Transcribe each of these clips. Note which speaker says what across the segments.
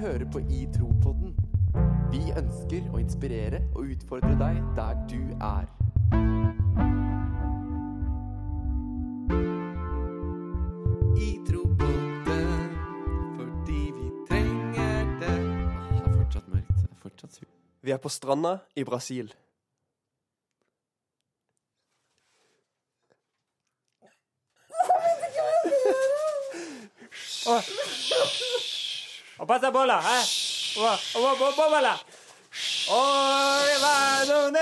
Speaker 1: hører på I tro-podden. Vi ønsker å inspirere og utfordre deg der du er. I tro-podden, fordi vi trenger det. Åh, Det er fortsatt mørkt. Det er fortsatt surt.
Speaker 2: Vi er på stranda i Brasil.
Speaker 3: Å, passa bola, hæ? Å, å, å, å, å, bola. Å, vi var noen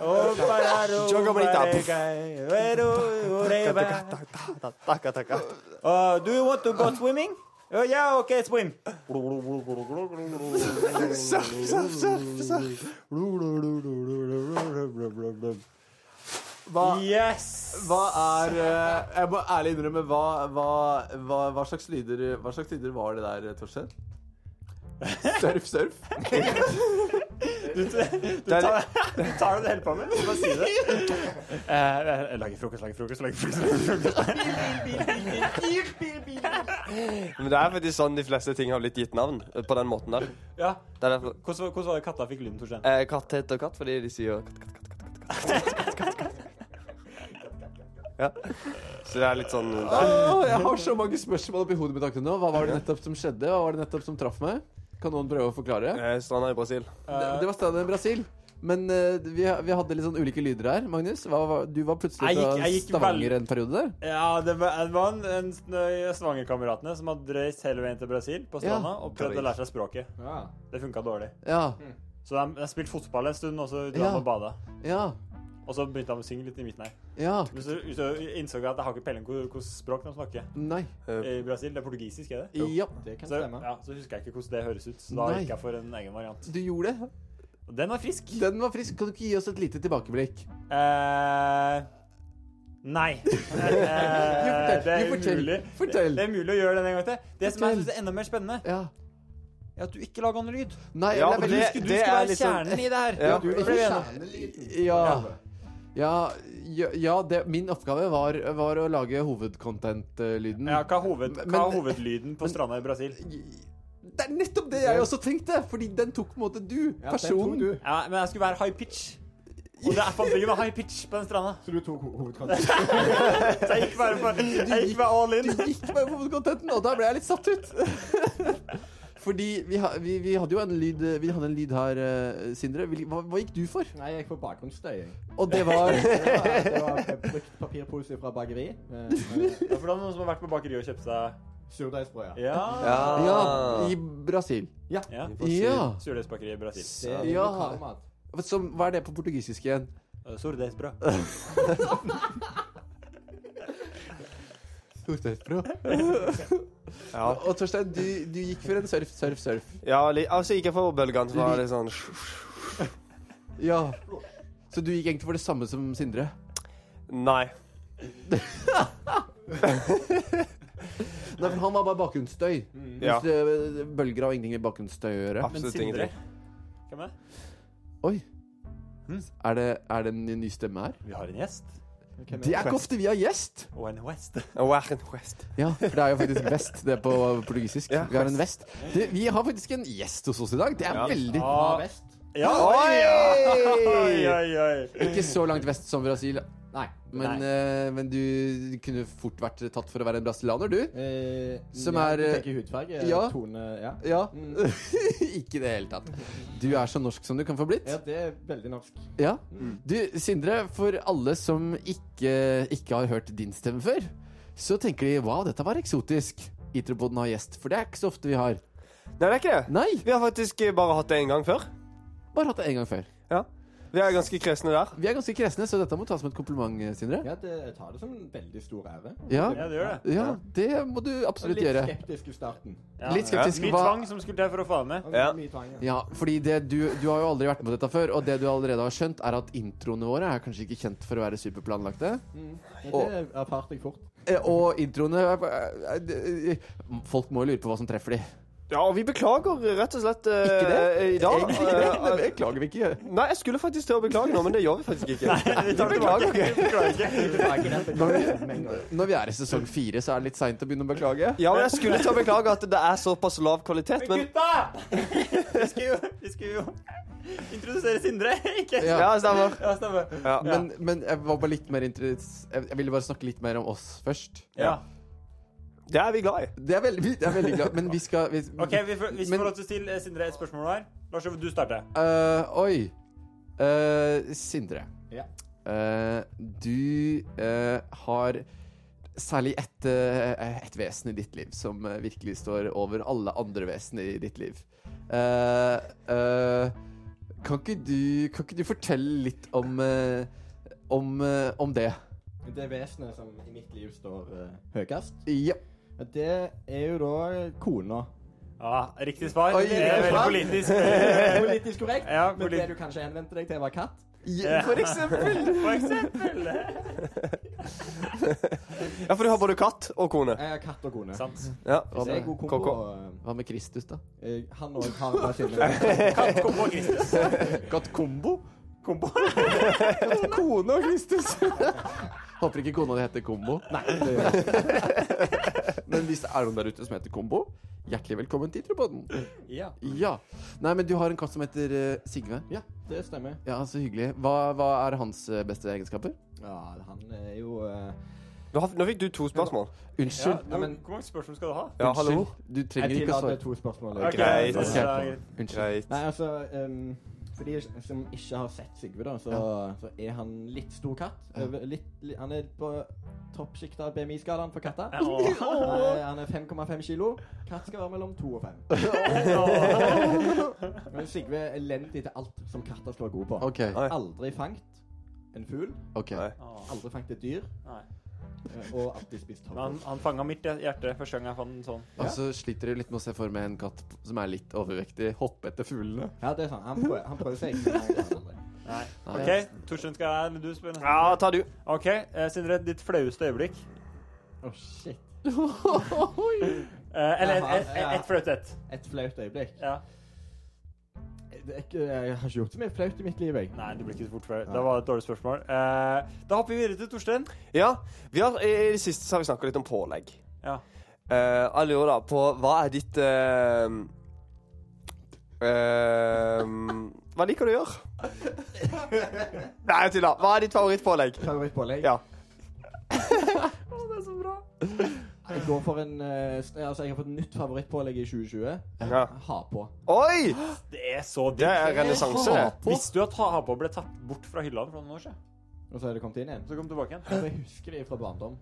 Speaker 2: Gioca bonita.
Speaker 3: Oh, do you want to go swimming? Oh, yeah, okay, swim. Ah.
Speaker 4: Hva,
Speaker 3: Yes!
Speaker 4: hva er eh, Jeg må ærlig innrømme, hva, hva, hva, hva, slags, lyder, hva slags lyder var det der, Torstein? Surf, surf?
Speaker 3: Du, du, tar, du tar det du holder på med. Bare si det. Eh, eh, lager frokost, lager frokost, lager frokost. Lager frokost.
Speaker 2: Men det er faktisk sånn de fleste ting har blitt gitt navn. eh, På den måten der.
Speaker 3: Ja.
Speaker 2: Det er derfor
Speaker 3: Hvordan, hvordan var det katta fikk lyden, Torstein?
Speaker 2: eh, Katt heter katt fordi de sier katt, katt, katt, katt, katt, katt, katt, katt, katt, katt, katt, katt, katt, katt, katt. Ja. Så det er litt sånn
Speaker 4: Åh, jeg har så mange spørsmål oppi hodet mitt akkurat nå. Hva var det nettopp som skjedde? Hva var det nettopp som traff meg? Kan noen prøve å forklare?
Speaker 2: eh, Stranda i Brasil.
Speaker 4: Det,
Speaker 3: Eh,
Speaker 4: det var stadig Brasil. Men eh, vi, vi hadde litt sånn ulike lyder her, Magnus. Hva, var- du var plutselig
Speaker 3: Jeg gikk-
Speaker 4: fra
Speaker 3: jeg gikk
Speaker 4: Stavanger en periode der.
Speaker 3: Ja, det var, det var en, en av svangerkameratene som hadde reist hele veien til Brasil på stranda
Speaker 4: Ja.
Speaker 3: og prøvd å lære seg språket. Det funka dårlig.
Speaker 4: Ja.
Speaker 3: Så de, de spilte fotball en stund, og så dro de
Speaker 4: Ja.
Speaker 3: og bada.
Speaker 4: Ja.
Speaker 3: Og så begynte de å synge litt i midten her.
Speaker 4: Ja.
Speaker 3: Men så, så innså jeg at jeg har ikke peiling på hvilket språk de snakker
Speaker 4: Nei.
Speaker 2: Eh,
Speaker 3: i Brasil. Det er portugisisk, er det?
Speaker 4: Ja.
Speaker 5: Det kan
Speaker 3: Så,
Speaker 5: stemme.
Speaker 3: ja, så husker jeg ikke hvordan det høres ut, så da
Speaker 4: Nei.
Speaker 3: gikk jeg for en egen variant.
Speaker 4: Du gjorde det.
Speaker 3: Og Den var frisk.
Speaker 4: Den var frisk. Kan du ikke gi oss et lite tilbakeblikk?
Speaker 3: Eh, nei. Eh, det er
Speaker 4: jo, fortell.
Speaker 3: umulig.
Speaker 4: Fortell.
Speaker 3: Det er mulig å gjøre den en gang til. Det som jeg
Speaker 4: Fortell.
Speaker 3: synes er enda mer spennende,
Speaker 4: Ja.
Speaker 3: er at du ikke lager noen lyd.
Speaker 4: Nei,
Speaker 2: Ja,
Speaker 4: jeg er
Speaker 2: for
Speaker 4: veldig
Speaker 2: det-
Speaker 3: Du skal, du skal
Speaker 2: er
Speaker 3: være
Speaker 2: litt sånn-
Speaker 3: kjernen i det her.
Speaker 2: Ja.
Speaker 4: Du-
Speaker 3: ble enig.
Speaker 4: Ja. Ja, ja, ja det, min oppgave var, var å lage hovedcontent-lyden.
Speaker 3: Ja, hva, er hoved,
Speaker 4: Men-
Speaker 3: hva er hovedlyden på stranda i Brasil?
Speaker 4: Det er nettopp det jeg også tenkte! Fordi den tok på en måte du.
Speaker 5: Ja, den
Speaker 4: personen.
Speaker 5: tok du.
Speaker 3: Ja, men jeg skulle være high pitch. Og det er for mye med high pitch på den stranda.
Speaker 5: Så du tok ho- hovedkanten.
Speaker 3: Så jeg gikk bare for, jeg gikk bare all in.
Speaker 4: Du gikk med hovedcontenten, og da ble jeg litt satt ut. Fordi vi, ha, vi, vi hadde jo en lyd, vi hadde en lyd her, eh, Sindre. Hvil- Hva, hva gikk du for?
Speaker 5: Nei, jeg gikk for bakgrunnsstøy. jeg.
Speaker 4: Og det var
Speaker 5: Det var, det var brukt papirpose fra bakeri. eh, med
Speaker 3: Ja, for da er det noen som har vært på bakeriet og kjøpt seg
Speaker 5: Surdeigsbrød, ja.
Speaker 3: Ja.
Speaker 2: Ah.
Speaker 4: Ja, i Brasil.
Speaker 3: ja.
Speaker 4: Ja.
Speaker 3: Surdeigsbakeriet i Brasil.
Speaker 5: Det er
Speaker 4: Ja.
Speaker 5: lokalmat.
Speaker 4: Som, hva er det på portugisisk igjen?
Speaker 3: Eh, Surdeigsbrød.
Speaker 2: Ja.
Speaker 4: Og Torstein, du, du gikk for en surf, surf, surf.
Speaker 2: Ja, li altså gikk jeg for bølgene, så var det sånn
Speaker 4: Ja. Så du gikk egentlig for det samme som Sindre?
Speaker 2: Nei.
Speaker 4: Nei, for han var bare bakgrunnsstøy.
Speaker 2: Ja.
Speaker 4: Mens, eh, Bølger har ingenting med bakgrunnsstøy å gjøre.
Speaker 3: Men
Speaker 2: Absolutt
Speaker 3: Sindre
Speaker 2: ingenting.
Speaker 3: Hvem er det?
Speaker 4: Oi. Er det, er det en ny stemme her?
Speaker 3: Vi har en gjest.
Speaker 5: Hvem
Speaker 4: Det er ikke ofte vi har gjest!
Speaker 3: Og en West.
Speaker 2: Warren West.
Speaker 4: Ja, for det er jo faktisk vest, det på portugisisk.
Speaker 2: Ja,
Speaker 4: vi har en vest. Du, vi har faktisk en gjest hos oss i dag. Det er
Speaker 2: Ja.
Speaker 4: veldig
Speaker 5: Fra vest?
Speaker 3: Ja, Oi,
Speaker 2: Oi!
Speaker 3: oi, oi.
Speaker 4: Ikke så langt vest som Brasil,
Speaker 5: Nei.
Speaker 4: men,
Speaker 3: Nei.
Speaker 4: eh, men du kunne fort vært tatt for å være en brasilianer, du.
Speaker 5: Eh,
Speaker 4: Som
Speaker 5: ja,
Speaker 4: er,
Speaker 5: Du
Speaker 4: eh,
Speaker 5: tenker hudfarge?
Speaker 4: ja.
Speaker 5: Tone Ja. Mm,
Speaker 4: Ja. ikke i det hele tatt. Du er så norsk som du kan få blitt.
Speaker 5: ja, det er veldig norsk.
Speaker 4: Ja. Du, Sindre, for alle som ikke, ikke har hørt din stemme før, så tenker de 'wow, dette var eksotisk'. Itropoden har gjest, for det er ikke så ofte vi har.
Speaker 2: Nei, det er ikke det.
Speaker 4: Nei,
Speaker 2: Vi har faktisk eh, bare hatt det én gang før.
Speaker 4: bare hatt det én gang før.
Speaker 2: Ja. Vi er ganske kresne der.
Speaker 4: Vi er ganske kresne, så dette må tas som et kompliment, Sindre.
Speaker 5: Ja, det, jeg tar det som en veldig stor ære.
Speaker 4: Ja.
Speaker 3: Ja, det gjør det.
Speaker 4: Ja, det må du
Speaker 5: Og
Speaker 4: absolutt
Speaker 5: Litt
Speaker 4: gjøre.
Speaker 5: skeptisk i starten.
Speaker 3: Ja.
Speaker 4: Litt skeptisk.
Speaker 3: Mye
Speaker 4: Hva
Speaker 3: tvang som skulle til for å få deg med.
Speaker 5: Og
Speaker 2: Ja.
Speaker 5: mye tvang, ja.
Speaker 4: ja, fordi det du, du har jo aldri vært med på dette før, og det du allerede har skjønt, er at introene våre er kanskje ikke kjent for å være superplanlagte.
Speaker 5: Men Det erfarte jeg fort.
Speaker 4: Eh, Og introene eh, eh, eh, Folk må jo lure på hva som treffer de.
Speaker 2: Ja, og vi beklager rett og slett eh,
Speaker 4: Ikke det?
Speaker 2: i dag.
Speaker 4: Egentlig,
Speaker 2: Eh,
Speaker 4: det beklager vi ikke.
Speaker 2: Nei, jeg skulle faktisk til å beklage nå, men det gjør vi faktisk ikke.
Speaker 3: Vi tar det
Speaker 2: Beklager.
Speaker 3: tilbake. Beklager.
Speaker 4: Når vi er i sesong fire, så er det litt seint å begynne å beklage.
Speaker 2: Ja, men jeg skulle til å beklage at det er såpass lav kvalitet,
Speaker 3: Men
Speaker 2: men
Speaker 3: gutta! Vi skulle jo, vi skulle jo introdusere Sindre, ikke?
Speaker 4: Ja.
Speaker 2: Ja, stemmer.
Speaker 3: Ja, stemmer.
Speaker 2: Ja.
Speaker 4: Men, men jeg var bare litt mer interess- jeg, jeg ville bare snakke litt mer om oss først.
Speaker 3: Ja.
Speaker 2: Det er vi glad i.
Speaker 4: Det er veldig, det er veldig glad, men vi skal vi,
Speaker 3: OK, vi, får- hvis vi
Speaker 4: Men-
Speaker 3: får lov til å stille eh, Sindre et spørsmål her. Lars Øyvind, du starter.
Speaker 4: Øh, Oi. Øh, Sindre.
Speaker 5: Ja.
Speaker 4: Øh, du øh, har særlig ett øh, ett vesen i ditt liv som øh, virkelig står over alle andre vesen i ditt liv. Øh, øh, kan, ikke du, kan ikke du fortelle litt om øh, om, øh, om det?
Speaker 5: Det vesenet som i mitt liv står uh, høyest,
Speaker 4: Ja.
Speaker 5: det er jo da kona.
Speaker 3: Ja, riktig svar.
Speaker 4: Oi,
Speaker 3: det er veldig
Speaker 4: sant?
Speaker 3: politisk.
Speaker 5: Politisk korrekt,
Speaker 3: Ja,
Speaker 5: men det
Speaker 3: polit-
Speaker 5: du kanskje henvendte deg til, var katt.
Speaker 4: ja.
Speaker 2: For eksempel.
Speaker 3: For eksempel.
Speaker 2: Ja, for du har både katt og kone.
Speaker 5: Jeg har katt og kone.
Speaker 3: Sant.
Speaker 2: Ja.
Speaker 5: Så jeg er god kombo.
Speaker 2: Koko.
Speaker 4: Hva med Kristus, da?
Speaker 5: eh, Han òg har hver sin.
Speaker 3: Katt, kombo og Kristus.
Speaker 4: Godt kombo?
Speaker 3: Kombo.
Speaker 4: Kone og Kristus. Håper ikke kona di heter Kombo. Nei, det gjør jeg ikke. Men hvis det er noen der ute som heter Kombo, hjertelig velkommen til Tropoden.
Speaker 3: Ja.
Speaker 4: Ja. Nei, men du har en katt som heter eh, Sigve.
Speaker 5: Ja, det stemmer.
Speaker 4: Ja, så hyggelig. Hva, hva er hans eh, beste egenskaper?
Speaker 5: Ja, han er jo eh,
Speaker 2: Nå, har- nå fikk du to spørsmål.
Speaker 3: Ja,
Speaker 4: Unnskyld.
Speaker 3: nå,
Speaker 5: men-
Speaker 3: hvor mange spørsmål skal du ha?
Speaker 2: Ja, hallo.
Speaker 4: Unnskyld. Du
Speaker 5: Jeg
Speaker 4: trenger ikke å
Speaker 5: tillater
Speaker 4: svare.
Speaker 5: to spørsmål.
Speaker 2: Ok.
Speaker 3: det-
Speaker 2: greit.
Speaker 3: det er greit.
Speaker 4: Unnskyld.
Speaker 2: Greit.
Speaker 5: Nei, altså ehm, For de som ikke har sett Sigve, da, så, så er han litt stor katt.
Speaker 4: Ja.
Speaker 5: Over- Litt, li- han er på toppsjiktet av BMI-skalaen for katter.
Speaker 3: Ja, åh.
Speaker 5: Han er- Han er 5,5 kilo. Katt skal være mellom 2 og 5. Men Sigve er elendig til alt som katter skal være gode på.
Speaker 4: OK.
Speaker 2: Nei.
Speaker 5: Aldri fangt en fugl.
Speaker 4: ok
Speaker 2: Nei.
Speaker 3: Åh.
Speaker 5: Aldri fangt et dyr.
Speaker 3: Nei.
Speaker 5: eh, Og alltid spist
Speaker 3: Men han,
Speaker 5: topp.
Speaker 3: han fanga mitt hjerte første gang jeg fant en sånn.
Speaker 4: Og så sliter du litt med å se for meg en katt som er litt overvektig, hoppe etter fuglene.
Speaker 5: Ja, det er sant. Han prøver, han prøver seg. men han klarer aldri.
Speaker 3: Nei.
Speaker 4: Nei.
Speaker 3: OK, Torstein skal jeg eller du spør nesten.
Speaker 2: Ja, ta du.
Speaker 3: OK, eh, Sindre, ditt flaueste øyeblikk?
Speaker 5: Å, shit.
Speaker 3: Eh, eller
Speaker 5: Jaha,
Speaker 3: ett et,
Speaker 5: ja.
Speaker 3: et flaut ett.
Speaker 5: Et flaut øyeblikk.
Speaker 3: Ja.
Speaker 5: Det er ikke, jeg har ikke gjort så mye flaut i mitt liv, jeg.
Speaker 3: Nei, det blir ikke så fort før. Det var et dårlig spørsmål. Eh, da hopper vi videre til Torstein.
Speaker 2: Ja, vi har, i det siste så har vi snakka litt om pålegg.
Speaker 3: Ja.
Speaker 2: Eh, jeg lurer da på hva er ditt eh, eh, Hva liker du å gjøre? Nei, jeg tuller. Hva er ditt favorittpålegg?
Speaker 5: Favorittpålegg?
Speaker 2: Ja.
Speaker 3: det er så bra.
Speaker 5: Jeg går for en eh, st- Altså, jeg har fått nytt favorittpålegg i 2020.
Speaker 2: Ja.
Speaker 5: Ha på.
Speaker 2: Oi!
Speaker 3: Det er så digg.
Speaker 2: Det er renessanse, det.
Speaker 3: Visste du at ha, ha på ble tatt bort fra hylla for noen år siden?
Speaker 5: Og så er det kommet inn igjen.
Speaker 3: Så kom tilbake igjen.
Speaker 5: Altså, jeg husker det fra barndom.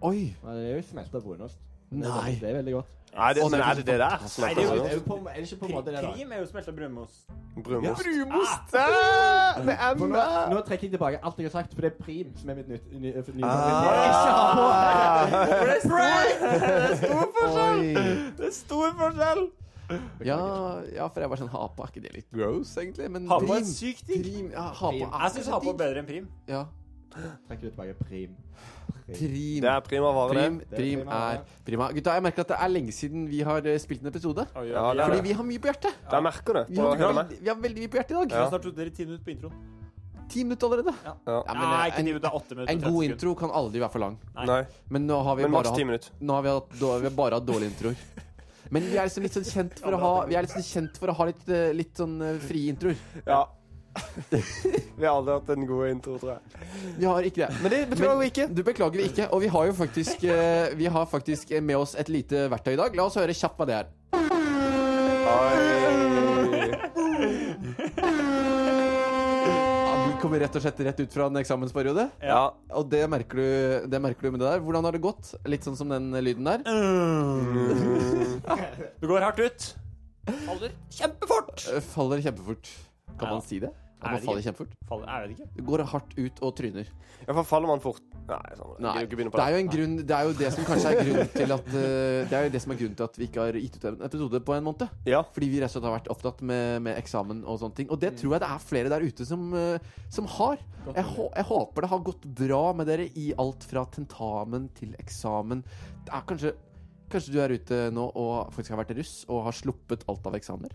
Speaker 4: Oi.
Speaker 5: Men Det er jo smelta brunost. Det er
Speaker 4: Nei.
Speaker 5: veldig- Det er veldig godt.
Speaker 2: Nei, det,
Speaker 4: Å, det
Speaker 2: men
Speaker 4: er
Speaker 2: er det det
Speaker 4: Nei,
Speaker 2: der?
Speaker 5: Det
Speaker 3: det er
Speaker 5: er, jo,
Speaker 3: jo-
Speaker 5: på, er det ikke på en måte det, da?
Speaker 3: Krim er jo smelta brunmos.
Speaker 2: Brunost.
Speaker 4: Brunost.
Speaker 2: Ah, Det er
Speaker 5: For nå,
Speaker 2: meg!
Speaker 5: nå trekker jeg tilbake alt jeg har sagt, for det er prim som er mitt nytt ny, nye
Speaker 2: Ah.
Speaker 5: favorittpålegg.
Speaker 3: For det er stor, det er stor forskjell!
Speaker 4: Oi.
Speaker 3: Det er stor forskjell!
Speaker 4: Ja, ja, for jeg var sånn Ha på, er ikke det litt gross, egentlig? Men
Speaker 3: Ha på
Speaker 4: prim-
Speaker 3: er sykt digg.
Speaker 4: Prim, ja, ha på
Speaker 5: Prim.
Speaker 4: er
Speaker 3: Jeg syns ha på er
Speaker 4: digg.
Speaker 3: bedre enn prim.
Speaker 4: Ja.
Speaker 5: Trekker du tilbake prim.
Speaker 4: Prim.
Speaker 2: Det er prima vare,
Speaker 4: Prim,
Speaker 2: det.
Speaker 5: Det er
Speaker 4: prim
Speaker 5: prima,
Speaker 4: er
Speaker 5: ja.
Speaker 4: prima. Gutta, jeg merker at det er lenge siden vi har eh, spilt en episode.
Speaker 3: Oi,
Speaker 2: Ja, det er
Speaker 4: Fordi
Speaker 2: det.
Speaker 4: vi har mye på hjertet.
Speaker 2: Der merker du.
Speaker 4: Vi
Speaker 2: På
Speaker 4: har,
Speaker 2: hele meg.
Speaker 4: veldig, vi har veldig mye på hjertet i dag.
Speaker 3: Vi
Speaker 2: Ja.
Speaker 3: har snart sittet i ti minutter på introen.
Speaker 4: Ti minutter allerede.
Speaker 2: Ja.
Speaker 4: Ja, men,
Speaker 3: Nei,
Speaker 4: eh,
Speaker 3: ikke ti minutter, det er åtte minutter.
Speaker 4: en, en
Speaker 3: og 30
Speaker 4: god
Speaker 3: sekunder.
Speaker 4: intro kan aldri være for lang.
Speaker 2: Nei.
Speaker 4: Men nå har vi
Speaker 2: Men
Speaker 4: bare
Speaker 2: maks ti
Speaker 4: hatt,
Speaker 2: minutter.
Speaker 4: nå har vi hatt, da, vi har bare hatt dårlige introer. Men vi er liksom litt sånn kjent for å ha, vi er litt sånn kjent for å ha litt, eh, litt sånn eh, frie introer.
Speaker 2: Ja. Vi har aldri hatt en god intro, tror jeg.
Speaker 4: Vi har ikke det.
Speaker 2: Men det beklager vi ikke.
Speaker 4: Du beklager vi ikke. Og vi har jo faktisk, eh, vi har faktisk eh, med oss et lite verktøy i dag. La oss høre kjapt hva det er.
Speaker 2: Oi.
Speaker 4: Ja, vi kommer rett og slett rett ut fra en eksamensperiode.
Speaker 2: Ja.
Speaker 4: Og det merker, du, det merker du med det der. Hvordan har det gått? Litt sånn som den lyden der.
Speaker 3: Det går hardt ut. Faller kjempefort.
Speaker 4: Eh, Faller kjempefort. Kan
Speaker 3: Ja.
Speaker 4: man si det? At
Speaker 3: Er
Speaker 4: man
Speaker 3: det
Speaker 4: faller kjempefort?
Speaker 3: Faller, jeg vet ikke.
Speaker 4: Det går hardt ut og tryner.
Speaker 2: Ja, for faller man fort Nei, sånn, jeg
Speaker 4: Nei.
Speaker 2: gidder ikke begynne på
Speaker 4: Det er jo en grunn Det er jo det som kanskje er grunnen til at eh, Det er jo det som er grunnen til at vi ikke har gitt ut en episode på en måned.
Speaker 2: Ja.
Speaker 4: Fordi vi rett og slett har vært opptatt med, med eksamen og sånne ting. Og det tror jeg det er flere der ute som, eh, som har. Jeg, hå- jeg håper det har gått bra med dere i alt fra tentamen til eksamen. Det er kanskje Kanskje du er ute nå og faktisk har vært russ og har sluppet alt av eksamener?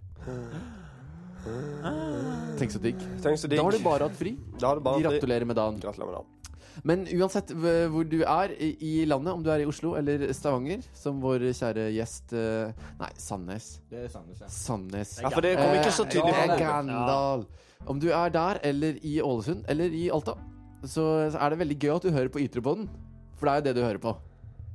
Speaker 4: Tenk så digg.
Speaker 2: Tenk så digg.
Speaker 4: Da har du bare hatt fri.
Speaker 2: Da har du bare
Speaker 4: Gratulerer med dagen.
Speaker 2: Gratulerer med dagen.
Speaker 4: Men uansett v- hvor du er i i landet, om du er i Oslo eller Stavanger, som vår kjære gjest eh, Nei, Sandnes.
Speaker 5: Det er Sandnes, ja.
Speaker 4: Sandnes.
Speaker 2: Ja, for det kom ikke så tydelig
Speaker 4: Eh,
Speaker 2: fram.
Speaker 4: Gandal. Om du er der, eller i Ålesund, eller i Alta, så så er det veldig gøy at du hører på Ytrepodden. For det er jo det du hører på.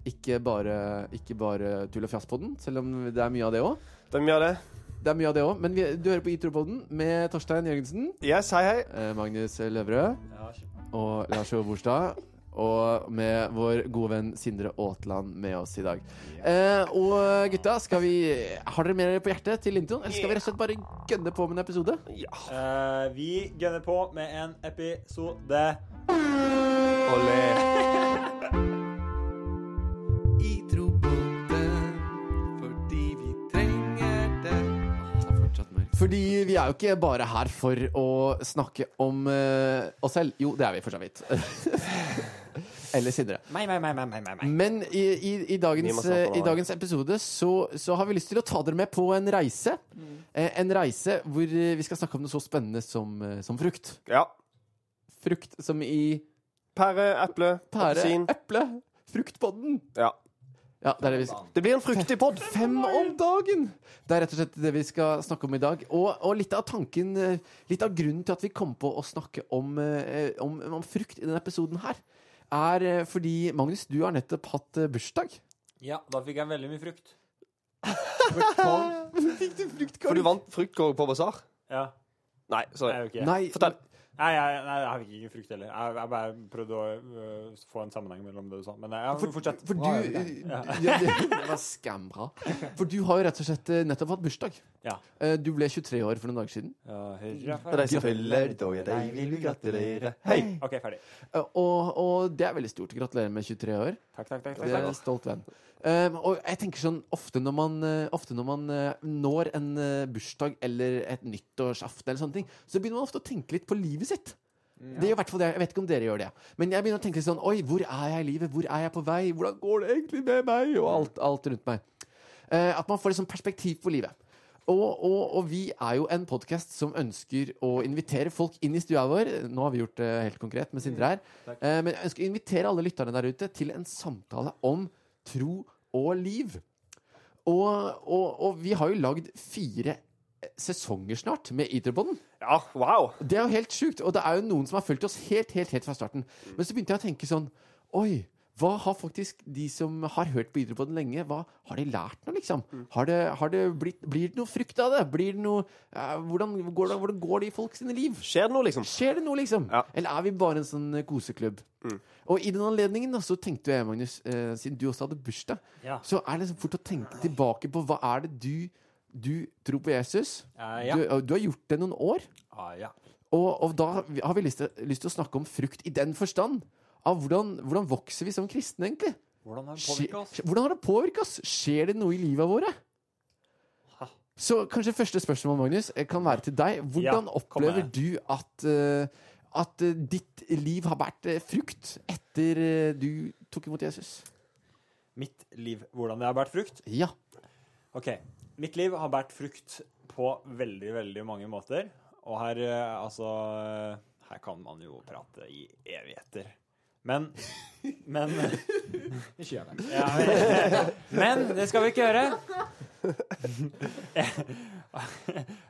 Speaker 4: Ikke bare, ikke bare tull og fjas på den, selv om det er mye av det òg.
Speaker 2: Det er mye av det.
Speaker 4: Det er mye av det også, men vi, du hører på Ytrepodden med Torstein Jørgensen,
Speaker 2: Yes, hei, hei.
Speaker 4: eh, Magnus Løvrød og Lars Jove Borstad. Og med vår gode venn Sindre Aatland med oss i dag. Eh, og gutta, skal vi, har dere mer på hjertet til introen? Eller skal vi rett og slett bare gønne på med en episode?
Speaker 3: Eh, vi gønner på med en episode.
Speaker 2: Olé.
Speaker 1: I tro på det, fordi vi trenger det. Åh, det er fortsatt mørkt.
Speaker 4: Fordi vi er jo ikke bare her for å snakke om eh, oss selv. Jo, det er vi for så vidt. Eller Sindre.
Speaker 3: Meg, meg, meg, meg, meg, meg, meg.
Speaker 4: Men i, i, i,
Speaker 2: Vi må
Speaker 4: dagens,
Speaker 2: snakke om
Speaker 4: eh, i
Speaker 2: det.
Speaker 4: dagens episode så, så har vi lyst til å ta dere med på en reise. Eh, en reise hvor eh, vi skal snakke om noe så spennende som, eh, som frukt.
Speaker 2: Ja.
Speaker 4: Frukt som i
Speaker 2: Pære, eple,
Speaker 4: pære,
Speaker 2: appelsin.
Speaker 4: eple, fruktpodden.
Speaker 2: Ja.
Speaker 4: Ja, det er det vi skal
Speaker 2: Det blir en fruktig pod.
Speaker 4: Fem om dagen! Det er rett og slett det vi skal snakke om i dag. Og, og litt av tanken eh, Litt av grunnen til at vi kom på å snakke om, eh, om, om frukt i denne episoden her, er eh, fordi Magnus, du har nettopp hatt eh, bursdag.
Speaker 3: Ja, da fikk jeg veldig mye frukt.
Speaker 4: Fikk du
Speaker 2: For
Speaker 4: fruktkorg?
Speaker 2: du vant fruktkorg på basar?
Speaker 3: Ja.
Speaker 2: Nei,
Speaker 3: Det er
Speaker 2: sorry.
Speaker 3: jo ikke
Speaker 4: Nei,
Speaker 2: Fortell.
Speaker 3: Nei, jeg, nei, jeg fikk ikke frukt heller. Jeg, jeg bare prøvde å øh, få en sammenheng mellom det du sa. Men jeg, jeg, fortsett.
Speaker 4: for
Speaker 5: Bra,
Speaker 4: du ja, det, det var skambra. For du har jo rett og slett eh, nettopp hatt bursdag.
Speaker 3: Ja.
Speaker 4: Eh, Du ble 23 år for noen dager siden.
Speaker 2: For de som følger dårlig, de vil vi gratulere. Hei!
Speaker 3: OK, ferdig.
Speaker 4: Eh, Og, og det er veldig stort. Gratulerer med 23 år.
Speaker 3: Takk, takk, takk.
Speaker 4: Det er
Speaker 3: takk,
Speaker 4: en stolt venn. Um, og jeg tenker sånn, ofte når man, eh, ofte når man eh, når en eh, bursdag eller et nyttårsaften, eller sånne ting, så begynner man ofte å tenke litt på livet sitt. Det gjør i hvert fall det. Jeg vet ikke om dere gjør det. Men jeg begynner å tenke litt sånn Oi, hvor er jeg i livet? Hvor er jeg på vei? Hvordan går det egentlig med meg? Og alt, alt rundt meg. Eh, at man får litt sånn perspektiv på livet. Og, og, og vi er jo en podkast som ønsker å invitere folk inn i stua vår. Nå har vi gjort det helt konkret med Sindre her. Eh, men jeg ønsker å invitere alle lytterne der ute til en samtale om tro og liv. Og, og, og vi har jo lagd fire sesonger snart med Eaterbånden.
Speaker 2: Ja, wow.
Speaker 4: Det er jo helt sjukt, og det er jo noen som har fulgt oss helt, helt, helt fra starten. Men så begynte jeg å tenke sånn Oi, hva har faktisk de som har hørt på Idrettsbåten lenge, hva har de lært nå, liksom? Har det, har det blitt, blir det noe frukt av det? Blir det noe eh, hvordan, går det, hvordan går det i folk sine liv?
Speaker 2: Skjer det noe, liksom?
Speaker 4: Skjer det noe, liksom?
Speaker 2: Ja.
Speaker 4: Eller er vi bare en sånn eh, koseklubb? Og i den anledningen da, så tenkte jeg, Magnus, eh, siden du også hadde bursdag,
Speaker 3: Ja.
Speaker 4: så er det liksom fort å tenke tilbake på hva er det du, du tror på Jesus?
Speaker 3: Eh, ja.
Speaker 4: Du, og du har gjort det noen år.
Speaker 3: Ah, ja.
Speaker 4: Og, og da har vi lyst til, lyst til å snakke om frukt i den forstand. Av hvordan, hvordan vokser vi som kristne, egentlig?
Speaker 3: Hvordan har den
Speaker 4: Skje-
Speaker 3: påvirka oss?
Speaker 4: hvordan har det påvirka oss? Skjer det noe i livet våre?
Speaker 3: Ha.
Speaker 4: Så kanskje første spørsmål, Magnus, eh, kan være til deg. Hvordan
Speaker 3: Ja, kom med
Speaker 4: opplever du at, eh, at eh, ditt liv har vært eh, frukt etter eh, du tok imot Jesus?
Speaker 3: Mitt liv. Hvordan det har båret frukt?
Speaker 4: Ja.
Speaker 3: OK. Mitt liv har båret frukt på veldig, veldig mange måter. Og her, øh, altså øh, Her kan man jo prate i evigheter. Men Men
Speaker 5: Ikke gjør det.
Speaker 3: ja, Men det skal vi ikke gjøre.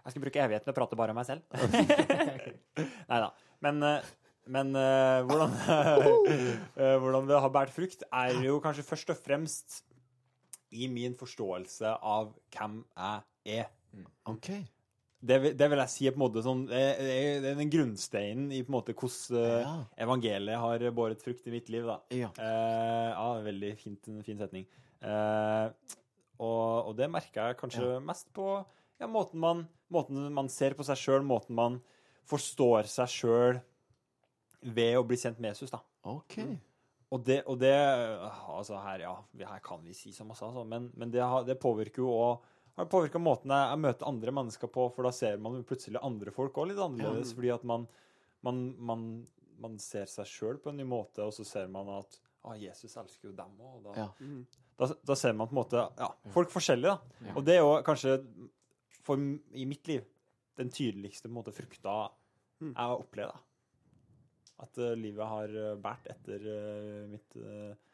Speaker 3: Jeg skal bruke evigheten til å prate bare om meg selv. Nei da. Men, eh, men eh, hvordan, eh, hvordan det har båret frukt, er jo kanskje først og fremst i min forståelse av hvem jeg er.
Speaker 4: OK.
Speaker 3: Det, vil- det vil jeg si er på en måte sånn eh, Det er det er den grunnsteinen i på en måte hvordan eh,
Speaker 4: Ja.
Speaker 3: evangeliet har båret frukt i mitt liv, da.
Speaker 4: Ja.
Speaker 3: Eh, ja, en veldig fint, en fin setning. Eh, og, og det merker jeg kanskje mest på ja, måten, man, måten man ser på seg sjøl, måten man forstår seg sjøl ved å bli kjent med Jesus, da.
Speaker 4: OK.
Speaker 3: Og det, og det øh, Altså, her, ja, vi- her kan vi si så masse, altså, men, men det, har, det påvirker jo òg har påvirka måten jeg, jeg møter andre mennesker på, for da ser man jo plutselig andre folk òg litt annerledes, fordi at man, man, man, man ser seg sjøl på en ny måte, og så ser man at ah, Jesus elsker jo dem òg, og da,
Speaker 4: Ja.
Speaker 3: da, da ser man på en måte ja, folk forskjellig. da. Og det er jo kanskje for, m- i mitt liv den tydeligste på en måte, frukta
Speaker 4: Mm.
Speaker 3: jeg har opplevd. da. At eh, livet har eh, båret etter eh, mitt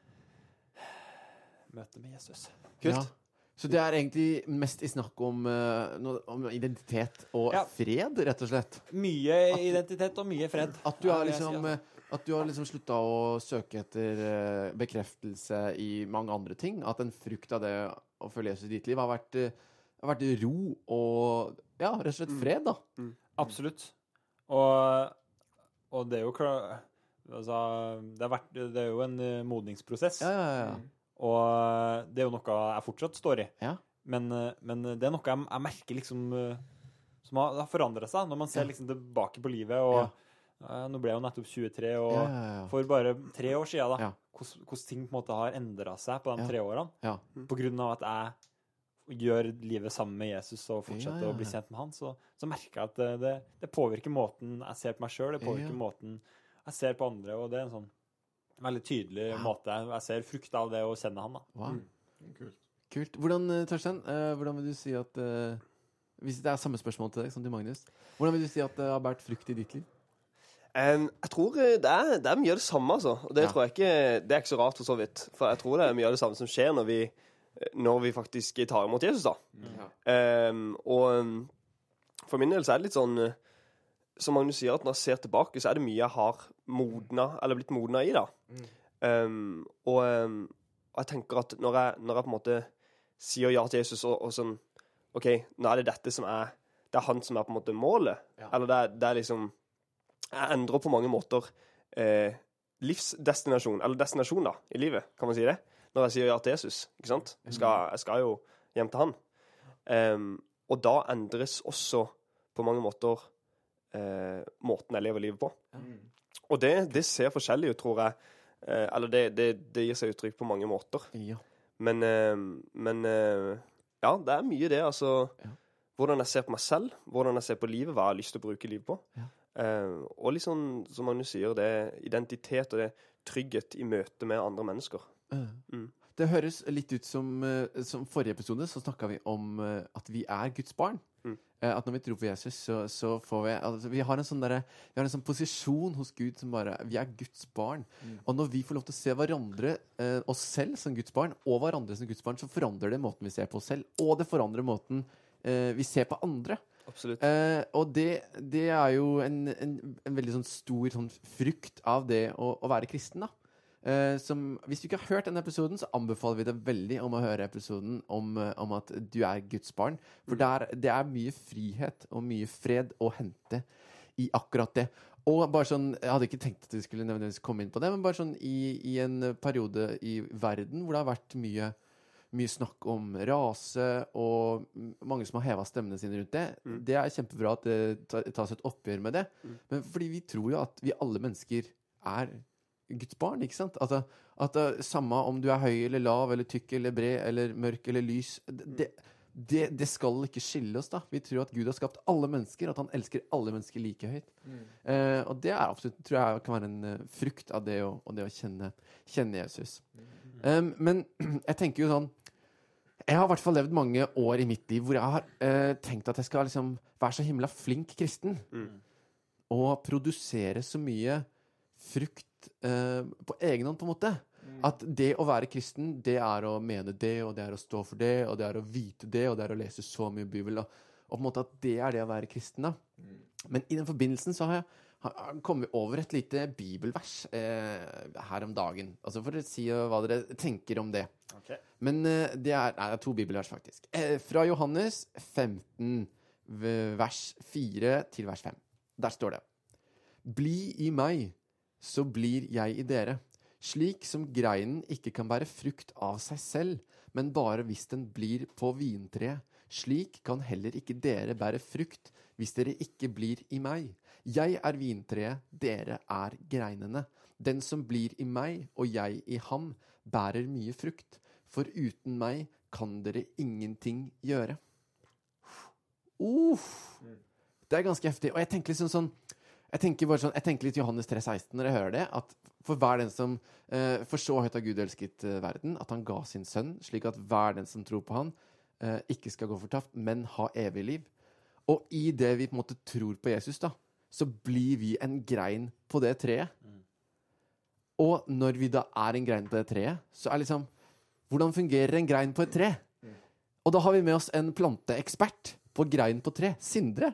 Speaker 3: eh, møte med Jesus.
Speaker 4: Kult. Så det er egentlig mest i snakk om, eh, noe- om identitet og
Speaker 3: Ja.
Speaker 4: fred, rett og slett.
Speaker 3: Mye identitet og mye fred.
Speaker 4: At du
Speaker 3: Ja,
Speaker 4: har
Speaker 3: vil jeg si,
Speaker 4: liksom,
Speaker 3: altså.
Speaker 4: eh, at du har liksom slutta å søke etter eh, bekreftelse i mange andre ting. At en frukt av det å følge Jesus i ditt liv har vært, eh, har vært ro og ja, rett og slett fred, da.
Speaker 3: Absolutt. Og, og det er jo klar, altså, det, har vært, det er jo en eh, modningsprosess,
Speaker 4: Ja, ja, ja.
Speaker 3: og eh, det er jo noe jeg fortsatt står i.
Speaker 4: Ja.
Speaker 3: Men, eh, men det er noe jeg, jeg merker liksom eh, som har, har forandra seg, når man ser liksom tilbake på livet. og eh, Nå ble jeg jo nettopp 23, og
Speaker 4: Ja, ja, ja.
Speaker 3: for bare tre år siden, da,
Speaker 4: Ja.
Speaker 3: hvordan hvordan ting på en måte har endra seg på de
Speaker 4: Ja.
Speaker 3: tre årene.
Speaker 4: Ja.
Speaker 3: På grunn av at jeg gjør livet sammen med Jesus og fortsetter
Speaker 4: Ja, ja,
Speaker 3: å bli
Speaker 4: ja.
Speaker 3: kjent med han, så, så merker jeg at det, det, det påvirker måten jeg ser på meg sjøl, det
Speaker 4: Ja.
Speaker 3: påvirker måten jeg ser på andre, og det er en sånn veldig tydelig måte. Jeg ser frukta av det å kjenne han, da.
Speaker 4: Wow.
Speaker 6: Kult.
Speaker 4: Kult. Hvordan, eh, Torstein, eh, hvordan vil du si at eh, Hvis det er samme spørsmål til deg som til Magnus, hvordan vil du si at det har båret frukt i ditt liv?
Speaker 2: Em, jeg tror eh, det er, det er mye av det samme, altså. Og det
Speaker 4: Ja.
Speaker 2: tror jeg ikke Det er ikke så rart, for så vidt. For jeg tror det er mye av det samme som skjer når vi, eh, når vi faktisk tar imot Jesus, da. Em, og em, for min del så er det litt sånn eh, Som Magnus sier, at når jeg ser tilbake, så er det mye jeg har modna, eller blitt modna i, da. Em, og em, og jeg tenker at når jeg, når jeg på en måte sier ja til Jesus, og, og sånn OK, nå er det dette som er Det er han som er på en måte målet. Eller det er, det er liksom jeg endrer på mange måter eh, livsdestinasjon, eller destinasjon da, i livet, kan man si det, når jeg sier ja til Jesus, ikke sant? Jeg skal, jeg skal jo hjem til han. Em, og da endres også på mange måter eh, måten jeg lever livet på. Og det, det ser forskjellig ut, tror jeg. Eh, eller det, det, det gir seg uttrykk på mange måter.
Speaker 4: Ja.
Speaker 2: Men, eh, men eh, ja, det er mye det. Altså
Speaker 4: Ja.
Speaker 2: hvordan jeg ser på meg selv, hvordan jeg ser på livet, hva jeg har lyst til å bruke livet på.
Speaker 4: Ja.
Speaker 2: Eh, og litt sånn, som Magnus sier, det er identitet og det er trygghet i møte med andre mennesker.
Speaker 4: Eh,
Speaker 2: Mm.
Speaker 4: Det høres litt ut som eh, Som forrige episode så snakka vi om eh, at vi er Guds barn.
Speaker 2: Mm.
Speaker 4: Eh, At når vi tror på Jesus, så, så får vi altså, Vi har en sånn derre Vi har en sånn posisjon hos Gud som bare Vi er Guds barn.
Speaker 2: Mm.
Speaker 4: Og når vi får lov til å se hverandre, eh, oss selv som Guds barn, og hverandre som Guds barn, så forandrer det måten vi ser på oss selv, og det forandrer måten eh, vi ser på andre.
Speaker 2: Absolutt.
Speaker 4: Eh, og det, det er jo en, en, en veldig sånn stor sånn frukt av det å, å være kristen, da. Eh, som, hvis du ikke har hørt denne episoden, så anbefaler vi deg veldig om å høre episoden om, eh, om at du er Guds barn. For der, det er mye frihet og mye fred å hente i akkurat det. Og bare sånn, Jeg hadde ikke tenkt at vi skulle nødvendigvis komme inn på det, men bare sånn i, i en periode i verden hvor det har vært mye mye snakk om rase, og m- mange som har heva stemmene sine rundt det. Det er kjempebra at det ta- tas et oppgjør med det. Men fordi vi tror jo at vi alle mennesker er Guds barn, ikke sant? At, at det- samme om du er høy eller lav eller tykk eller bred eller mørk eller lys det, det- det, det skal ikke skille oss, da. Vi tror at Gud har skapt alle mennesker, og at han elsker alle mennesker like høyt. Eh, og det er absolutt, tror jeg kan være en eh, frukt av det å, og det å kjenne, kjenne Jesus. Um, men jeg tenker jo sånn jeg har i hvert fall levd mange år i mitt liv hvor jeg har eh, tenkt at jeg skal liksom være så himla flink kristen. Og produsere så mye frukt eh, på egen hånd, på en måte. At det å være kristen, det er å mene det, og det er å stå for det, og det er å vite det, og det er å lese så mye Bibel. Og, og på en måte at det er det å være kristen, da. Men i den forbindelsen så har jeg har- har kommet over et lite bibelvers eh, her om dagen. Altså for å si eh, hva dere tenker om det. Men eh, det er, nei, det er to bibelvers, faktisk. Eh, Fra Johannes 15, v- vers 4 til vers 5. Der står det Bli i meg, så blir jeg i dere. Slik som greinen ikke kan bære frukt av seg selv, men bare hvis den blir på vintreet. Slik kan heller ikke dere bære frukt hvis dere ikke blir i meg. Jeg er vintreet, dere er greinene. Den som blir i meg og jeg i ham, bærer mye frukt. For uten meg kan dere ingenting gjøre. Uff! Det er ganske heftig. Og jeg tenker liksom sånn Jeg tenker, bare sånn, jeg tenker litt Johannes 3,16 når jeg hører det. At for hver den som eh, For så høyt har Gud elsket eh, verden, at han ga sin sønn, slik at hver den som tror på han, eh, ikke skal gå fortapt, men ha evig liv. Og i det vi på en måte tror på Jesus, da, så blir vi en grein på det treet. Og når vi da er en grein på det treet, så er liksom Hvordan fungerer en grein på et tre? Og da har vi med oss en planteekspert på grein på tre, Sindre.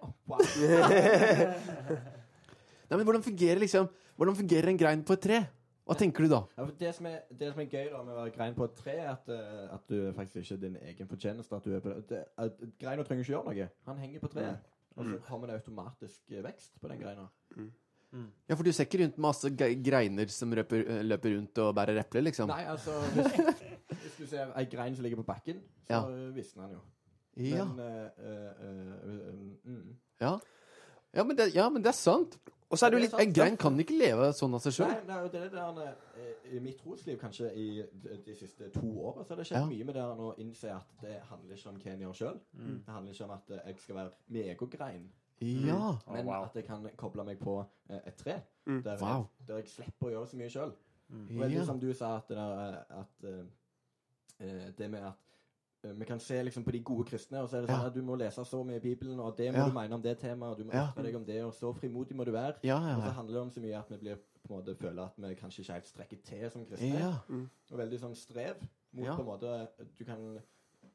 Speaker 4: Nei, men hvordan fungerer liksom Hvordan fungerer en grein på et tre? Hva tenker du da?
Speaker 5: Ja, for det, som er, det som er gøy da med å være grein på et tre, er at, eh, at du faktisk ikke er din egen fortjeneste. At du er på det. det at greina trenger ikke gjøre noe. Han henger på treet.
Speaker 4: Mm.
Speaker 5: Og så har man automatisk eh, vekst på den greina.
Speaker 4: Ja, for du ser ikke rundt med masse ge- greiner som røper, løper rundt og bærer epler, liksom?
Speaker 5: Nei, altså hvis, hvis du ser ei grein som ligger på bakken, så
Speaker 4: Ja.
Speaker 5: visner den jo.
Speaker 4: Ja.
Speaker 5: Men eh, eh, eh, mm.
Speaker 4: Ja. Ja, men det, ja, men det er sant.
Speaker 2: Og så er det jo litt
Speaker 5: Det er sant.
Speaker 4: En grein kan ikke leve sånn av seg
Speaker 5: Nei,
Speaker 4: sjøl.
Speaker 5: nei, og det er det der eh, I mitt trosliv, kanskje i de, de siste to årene, så har det skjedd
Speaker 4: Ja.
Speaker 5: mye med det her nå å innse at det handler ikke om hva en gjør sjøl.
Speaker 4: Mm.
Speaker 3: Mm.
Speaker 5: Det handler ikke om at eh, jeg skal være megagrein.
Speaker 4: Ja.
Speaker 5: Mm. Men
Speaker 3: wow.
Speaker 5: at jeg kan koble meg på eh, et tre, der,
Speaker 4: Wow.
Speaker 5: jeg, der jeg slipper å gjøre så mye sjøl. Veldig
Speaker 4: ja.
Speaker 5: som du sa, at det, der, eh, at, eh, eh, det med at eh, vi kan se liksom på de gode kristne, og så er det sånn
Speaker 4: Ja.
Speaker 5: at du må lese så mye i Bibelen, og det må
Speaker 4: Ja.
Speaker 5: du mene om det temaet, og du må
Speaker 4: Ja.
Speaker 5: ytre deg om det, og så frimodig må du være.
Speaker 4: Ja,
Speaker 5: Og så
Speaker 4: ja,
Speaker 5: handler det om så mye at vi blir på en måte føler at vi kanskje ikke helt strekker til som kristne.
Speaker 4: ja.
Speaker 5: Og veldig sånn strev mot
Speaker 4: Ja.
Speaker 5: på en måte Du kan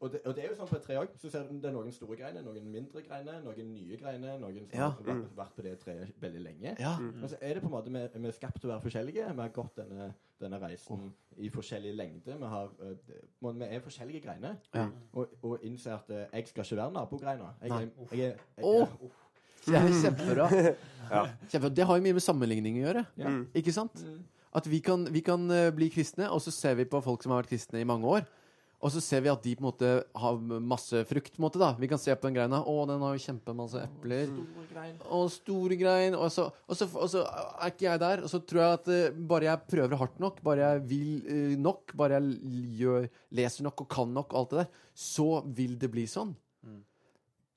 Speaker 5: og det, og det er jo sånn på et tre òg. Så ser du det er noen store greiner, noen mindre greiner, noen nye greiner, noen som
Speaker 4: Ja.
Speaker 5: har vært, vært på det treet veldig lenge.
Speaker 4: Ja.
Speaker 5: Men så er det på en måte vi, vi er skapt til å være forskjellige. Vi har gått denne, denne reisen i forskjellig lengde. Vi, har, eh, det- men vi er forskjellige greiner.
Speaker 4: Ja.
Speaker 5: Og, og innser at eh, jeg skal ikke være nabogreina. Jeg,
Speaker 4: Nei.
Speaker 5: jeg, jeg, jeg,
Speaker 4: Åh. Det er kjempebra. Kjempebra. Det har jo mye med sammenligning å gjøre.
Speaker 5: Ja. Mm.
Speaker 4: Ikke sant? At vi kan, vi kan eh, bli kristne, og så ser vi på folk som har vært kristne i mange år. Og så ser vi at de på en måte har masse frukt. på en måte da Vi kan se på den greina. Å, den har jo kjempemasse epler.
Speaker 5: Store grein.
Speaker 4: Og store grein. Og så, og, så, og så er ikke jeg der. Og så tror jeg at eh, bare jeg prøver hardt nok, bare jeg vil eh, nok, bare jeg l- gjør, leser nok og kan nok og alt det der, så vil det bli sånn.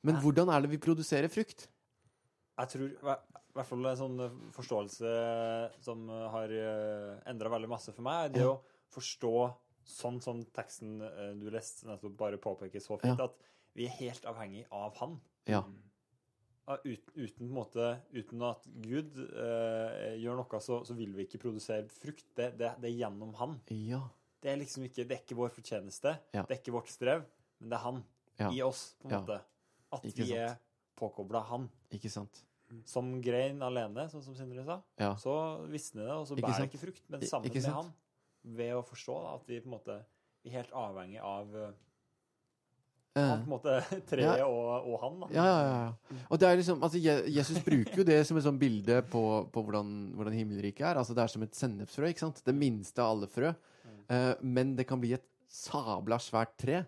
Speaker 4: Men hvordan er det vi produserer frukt?
Speaker 3: Jeg tror i hvert fall en sånn forståelse som eh, har endra veldig masse for meg, det å forstå sånn som teksten eh, du leste nettopp bare påpeker så fint,
Speaker 4: Ja.
Speaker 3: at vi er helt avhengig av han.
Speaker 4: Ja.
Speaker 3: Ja, Uten, uten, på en måte, uten at Gud eh, gjør noe, så, så vil vi ikke produsere frukt. Det, det, det er gjennom han.
Speaker 4: Ja.
Speaker 3: Det er liksom ikke, det er ikke vår fortjeneste,
Speaker 4: Ja.
Speaker 3: det er ikke vårt strev, men det er han
Speaker 4: Ja.
Speaker 3: i oss, på en
Speaker 4: Ja.
Speaker 3: måte. At
Speaker 4: Ikke
Speaker 3: vi
Speaker 4: sant.
Speaker 3: er påkobla han.
Speaker 4: Ikke sant?
Speaker 3: Som grein alene, sånn som Sindre sa.
Speaker 4: Ja.
Speaker 3: Så visner det, og så
Speaker 4: Ikke
Speaker 3: bærer det
Speaker 4: sant?
Speaker 3: ikke frukt.
Speaker 4: I-
Speaker 3: Men sammen
Speaker 4: ikke
Speaker 3: med
Speaker 4: sant?
Speaker 3: han, ved å forstå da, at vi på en måte vi er helt avhengig av eh, av,
Speaker 4: Eh,
Speaker 3: på en måte treet
Speaker 4: Ja.
Speaker 3: og, og han. da.
Speaker 4: Ja, ja, ja, ja. Og det er liksom, altså, Je- Jesus bruker jo det som et sånt bilde på, på hvordan, hvordan himmelriket er. Altså, det er som et sennepsfrø. ikke sant? Det minste av alle frø. Eh, men det kan bli et sabla svært tre.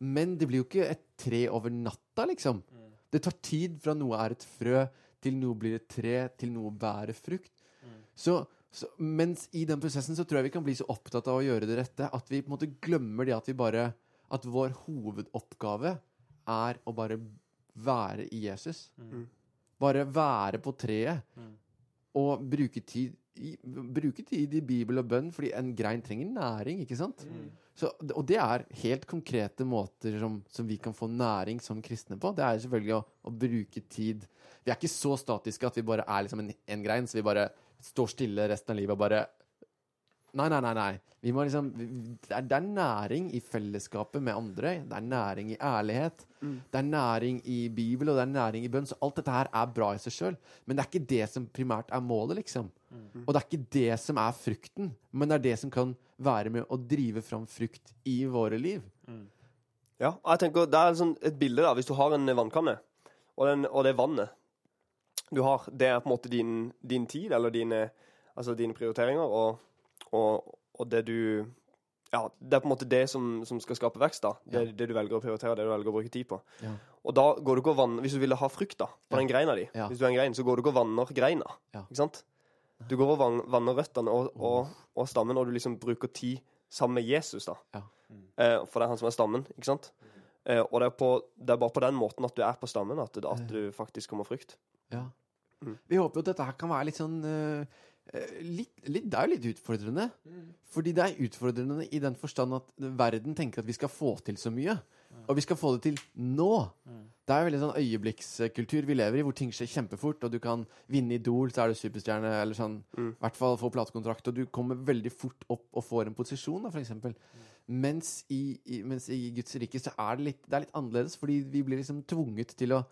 Speaker 4: Men det blir jo ikke et tre over natta, liksom. Det tar tid fra noe er et frø, til noe blir et tre, til noe bærer frukt. Så, så mens i den prosessen så tror jeg vi kan bli så opptatt av å gjøre det rette at vi på en måte glemmer det at vi bare At vår hovedoppgave er å bare være i Jesus. Bare være på treet. Og bruke tid, i, bruke tid i bibel og bønn, fordi en grein trenger næring, ikke sant? Så, og det er helt konkrete måter som, som vi kan få næring som kristne på. Det er selvfølgelig å, å bruke tid. Vi er ikke så statiske at vi bare er liksom en, en grein, så vi bare står stille resten av livet og bare Nei, nei, nei. nei. Vi må liksom, vi- det, er, det er næring i fellesskapet med andre. Det er næring i ærlighet. Det er næring i Bibel, og det er næring i bønn. Så alt dette her er bra i seg sjøl. Men det er ikke det som primært er målet, liksom. Og det er ikke det som er frukten, men det er det som kan være med å drive fram frukt i våre liv.
Speaker 2: Ja, og jeg tenker, Det er sånn et bilde, da. Hvis du har en vannkanne, og, den, og det vannet du har, det er på en måte din, din tid, eller dine, altså dine prioriteringer, og, og, og det du Ja, det er på en måte det som, som skal skape vekst, da. Det, det du velger å prioritere, det du velger å bruke tid på.
Speaker 4: Ja.
Speaker 2: Og da går du ikke og vanner Hvis du ville ha frukt, da, på
Speaker 4: Ja.
Speaker 2: den greina di,
Speaker 4: Ja.
Speaker 2: hvis du er en grein, så går du ikke og vanner greina,
Speaker 4: Ja.
Speaker 2: ikke sant? Du går og van- vanner røttene og, og, og stammen, og du liksom bruker tid sammen med Jesus, da.
Speaker 4: Ja.
Speaker 2: Eh, for det er han som er stammen, ikke sant? Eh, og det er, på, det er bare på den måten at du er på stammen, at, at du faktisk kommer frukt.
Speaker 4: Ja. Vi håper jo at dette her kan være litt sånn eh, eh, litt, litt, Det er jo litt utfordrende. Fordi det er utfordrende i den forstand at verden tenker at vi skal få til så mye. Og vi skal få det til nå. Det er jo veldig sånn øyeblikkskultur vi lever i, hvor ting skjer kjempefort, og du kan vinne Idol, så er du superstjerne, eller sånn. I
Speaker 2: Mm.
Speaker 4: hvert fall få platekontrakt, og du kommer veldig fort opp og får en posisjon, da, for eksempel. Mens i, i, mens i Guds rike så er det litt, det er litt annerledes, fordi vi blir liksom tvunget til å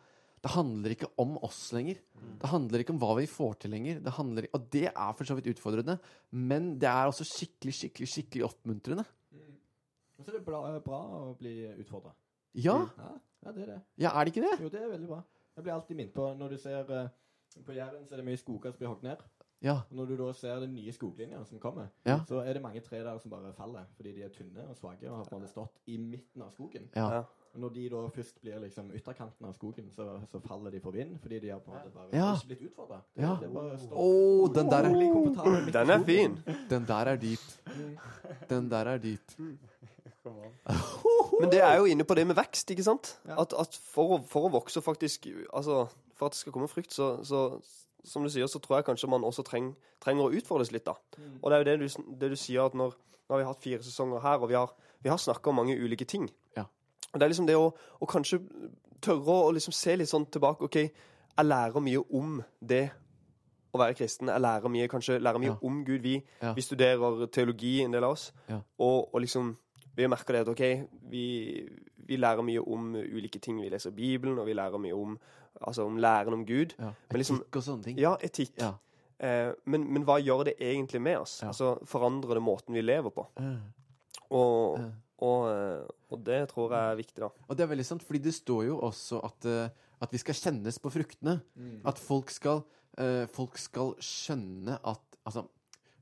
Speaker 4: det handler ikke om oss lenger. Det handler ikke om hva vi får til lenger. Det handler, og det er for så vidt utfordrende, men det er også skikkelig, skikkelig, skikkelig oppmuntrende.
Speaker 5: Og så er det bra, bra å bli utfordra.
Speaker 4: Ja,
Speaker 2: Mm.
Speaker 5: Ja, ja, det er det.
Speaker 4: ja, er det ikke det?
Speaker 5: Jo, det er veldig bra. Jeg blir alltid minnet på Når du ser eh, På Jæren så er det mye skoger som blir hogd ned.
Speaker 4: Ja.
Speaker 5: Og Når du da ser den nye skoglinja som kommer,
Speaker 4: Ja.
Speaker 5: så er det mange tre der som bare faller fordi de er tynne og svake og har på en måte stått i midten av skogen.
Speaker 4: ja.
Speaker 2: Ja.
Speaker 5: Og Når de da først blir liksom ytterkanten av skogen, så, så faller de for vind fordi de har på en måte bare
Speaker 4: Ja.
Speaker 5: ikke blitt utfordra.
Speaker 4: Ja.
Speaker 5: Det er bare å stå
Speaker 4: Å, den der er,
Speaker 5: rolig, komfortabel midt i
Speaker 2: Den er
Speaker 5: skogen.
Speaker 2: fin.
Speaker 4: den der er dyp.
Speaker 2: Mm.
Speaker 4: Den der er dyp.
Speaker 2: Men det er jo inne på det med vekst, ikke sant?
Speaker 5: Ja.
Speaker 2: At, at for, å, for å vokse faktisk Altså, for at det skal komme frukt, så, så Som du sier, så tror jeg kanskje man også treng, trenger å utfordres litt, da.
Speaker 4: Mm.
Speaker 2: Og det er jo det du, sn- det du sier, at når, nå har vi hatt fire sesonger her, og vi har, vi har snakka om mange ulike ting.
Speaker 4: Ja.
Speaker 2: Og det er liksom det å, å kanskje tørre å liksom se litt sånn tilbake OK, jeg lærer mye om det å være kristen. Jeg lærer mye, kanskje lærer mye
Speaker 4: Ja.
Speaker 2: om Gud. Vi,
Speaker 4: Ja.
Speaker 2: vi studerer teologi, en del av oss.
Speaker 4: Ja.
Speaker 2: Og, og liksom vi merker det at OK, vi, vi lærer mye om ulike ting. Vi leser Bibelen, og vi lærer mye om, altså, om læren om Gud.
Speaker 4: Ja.
Speaker 2: Men liksom-
Speaker 4: Etikk og sånne ting.
Speaker 2: Ja, etikk.
Speaker 4: Ja.
Speaker 2: Eh, men, men hva gjør det egentlig med oss?
Speaker 4: Ja.
Speaker 2: Altså, Forandrer det måten vi lever på? Og,
Speaker 4: Ja.
Speaker 2: og, eh, og det tror jeg er viktig, da.
Speaker 4: Og det er veldig sant, fordi det står jo også at, eh, at vi skal kjennes på fruktene.
Speaker 2: Mm.
Speaker 4: At folk skal, eh, folk skal skjønne at Altså,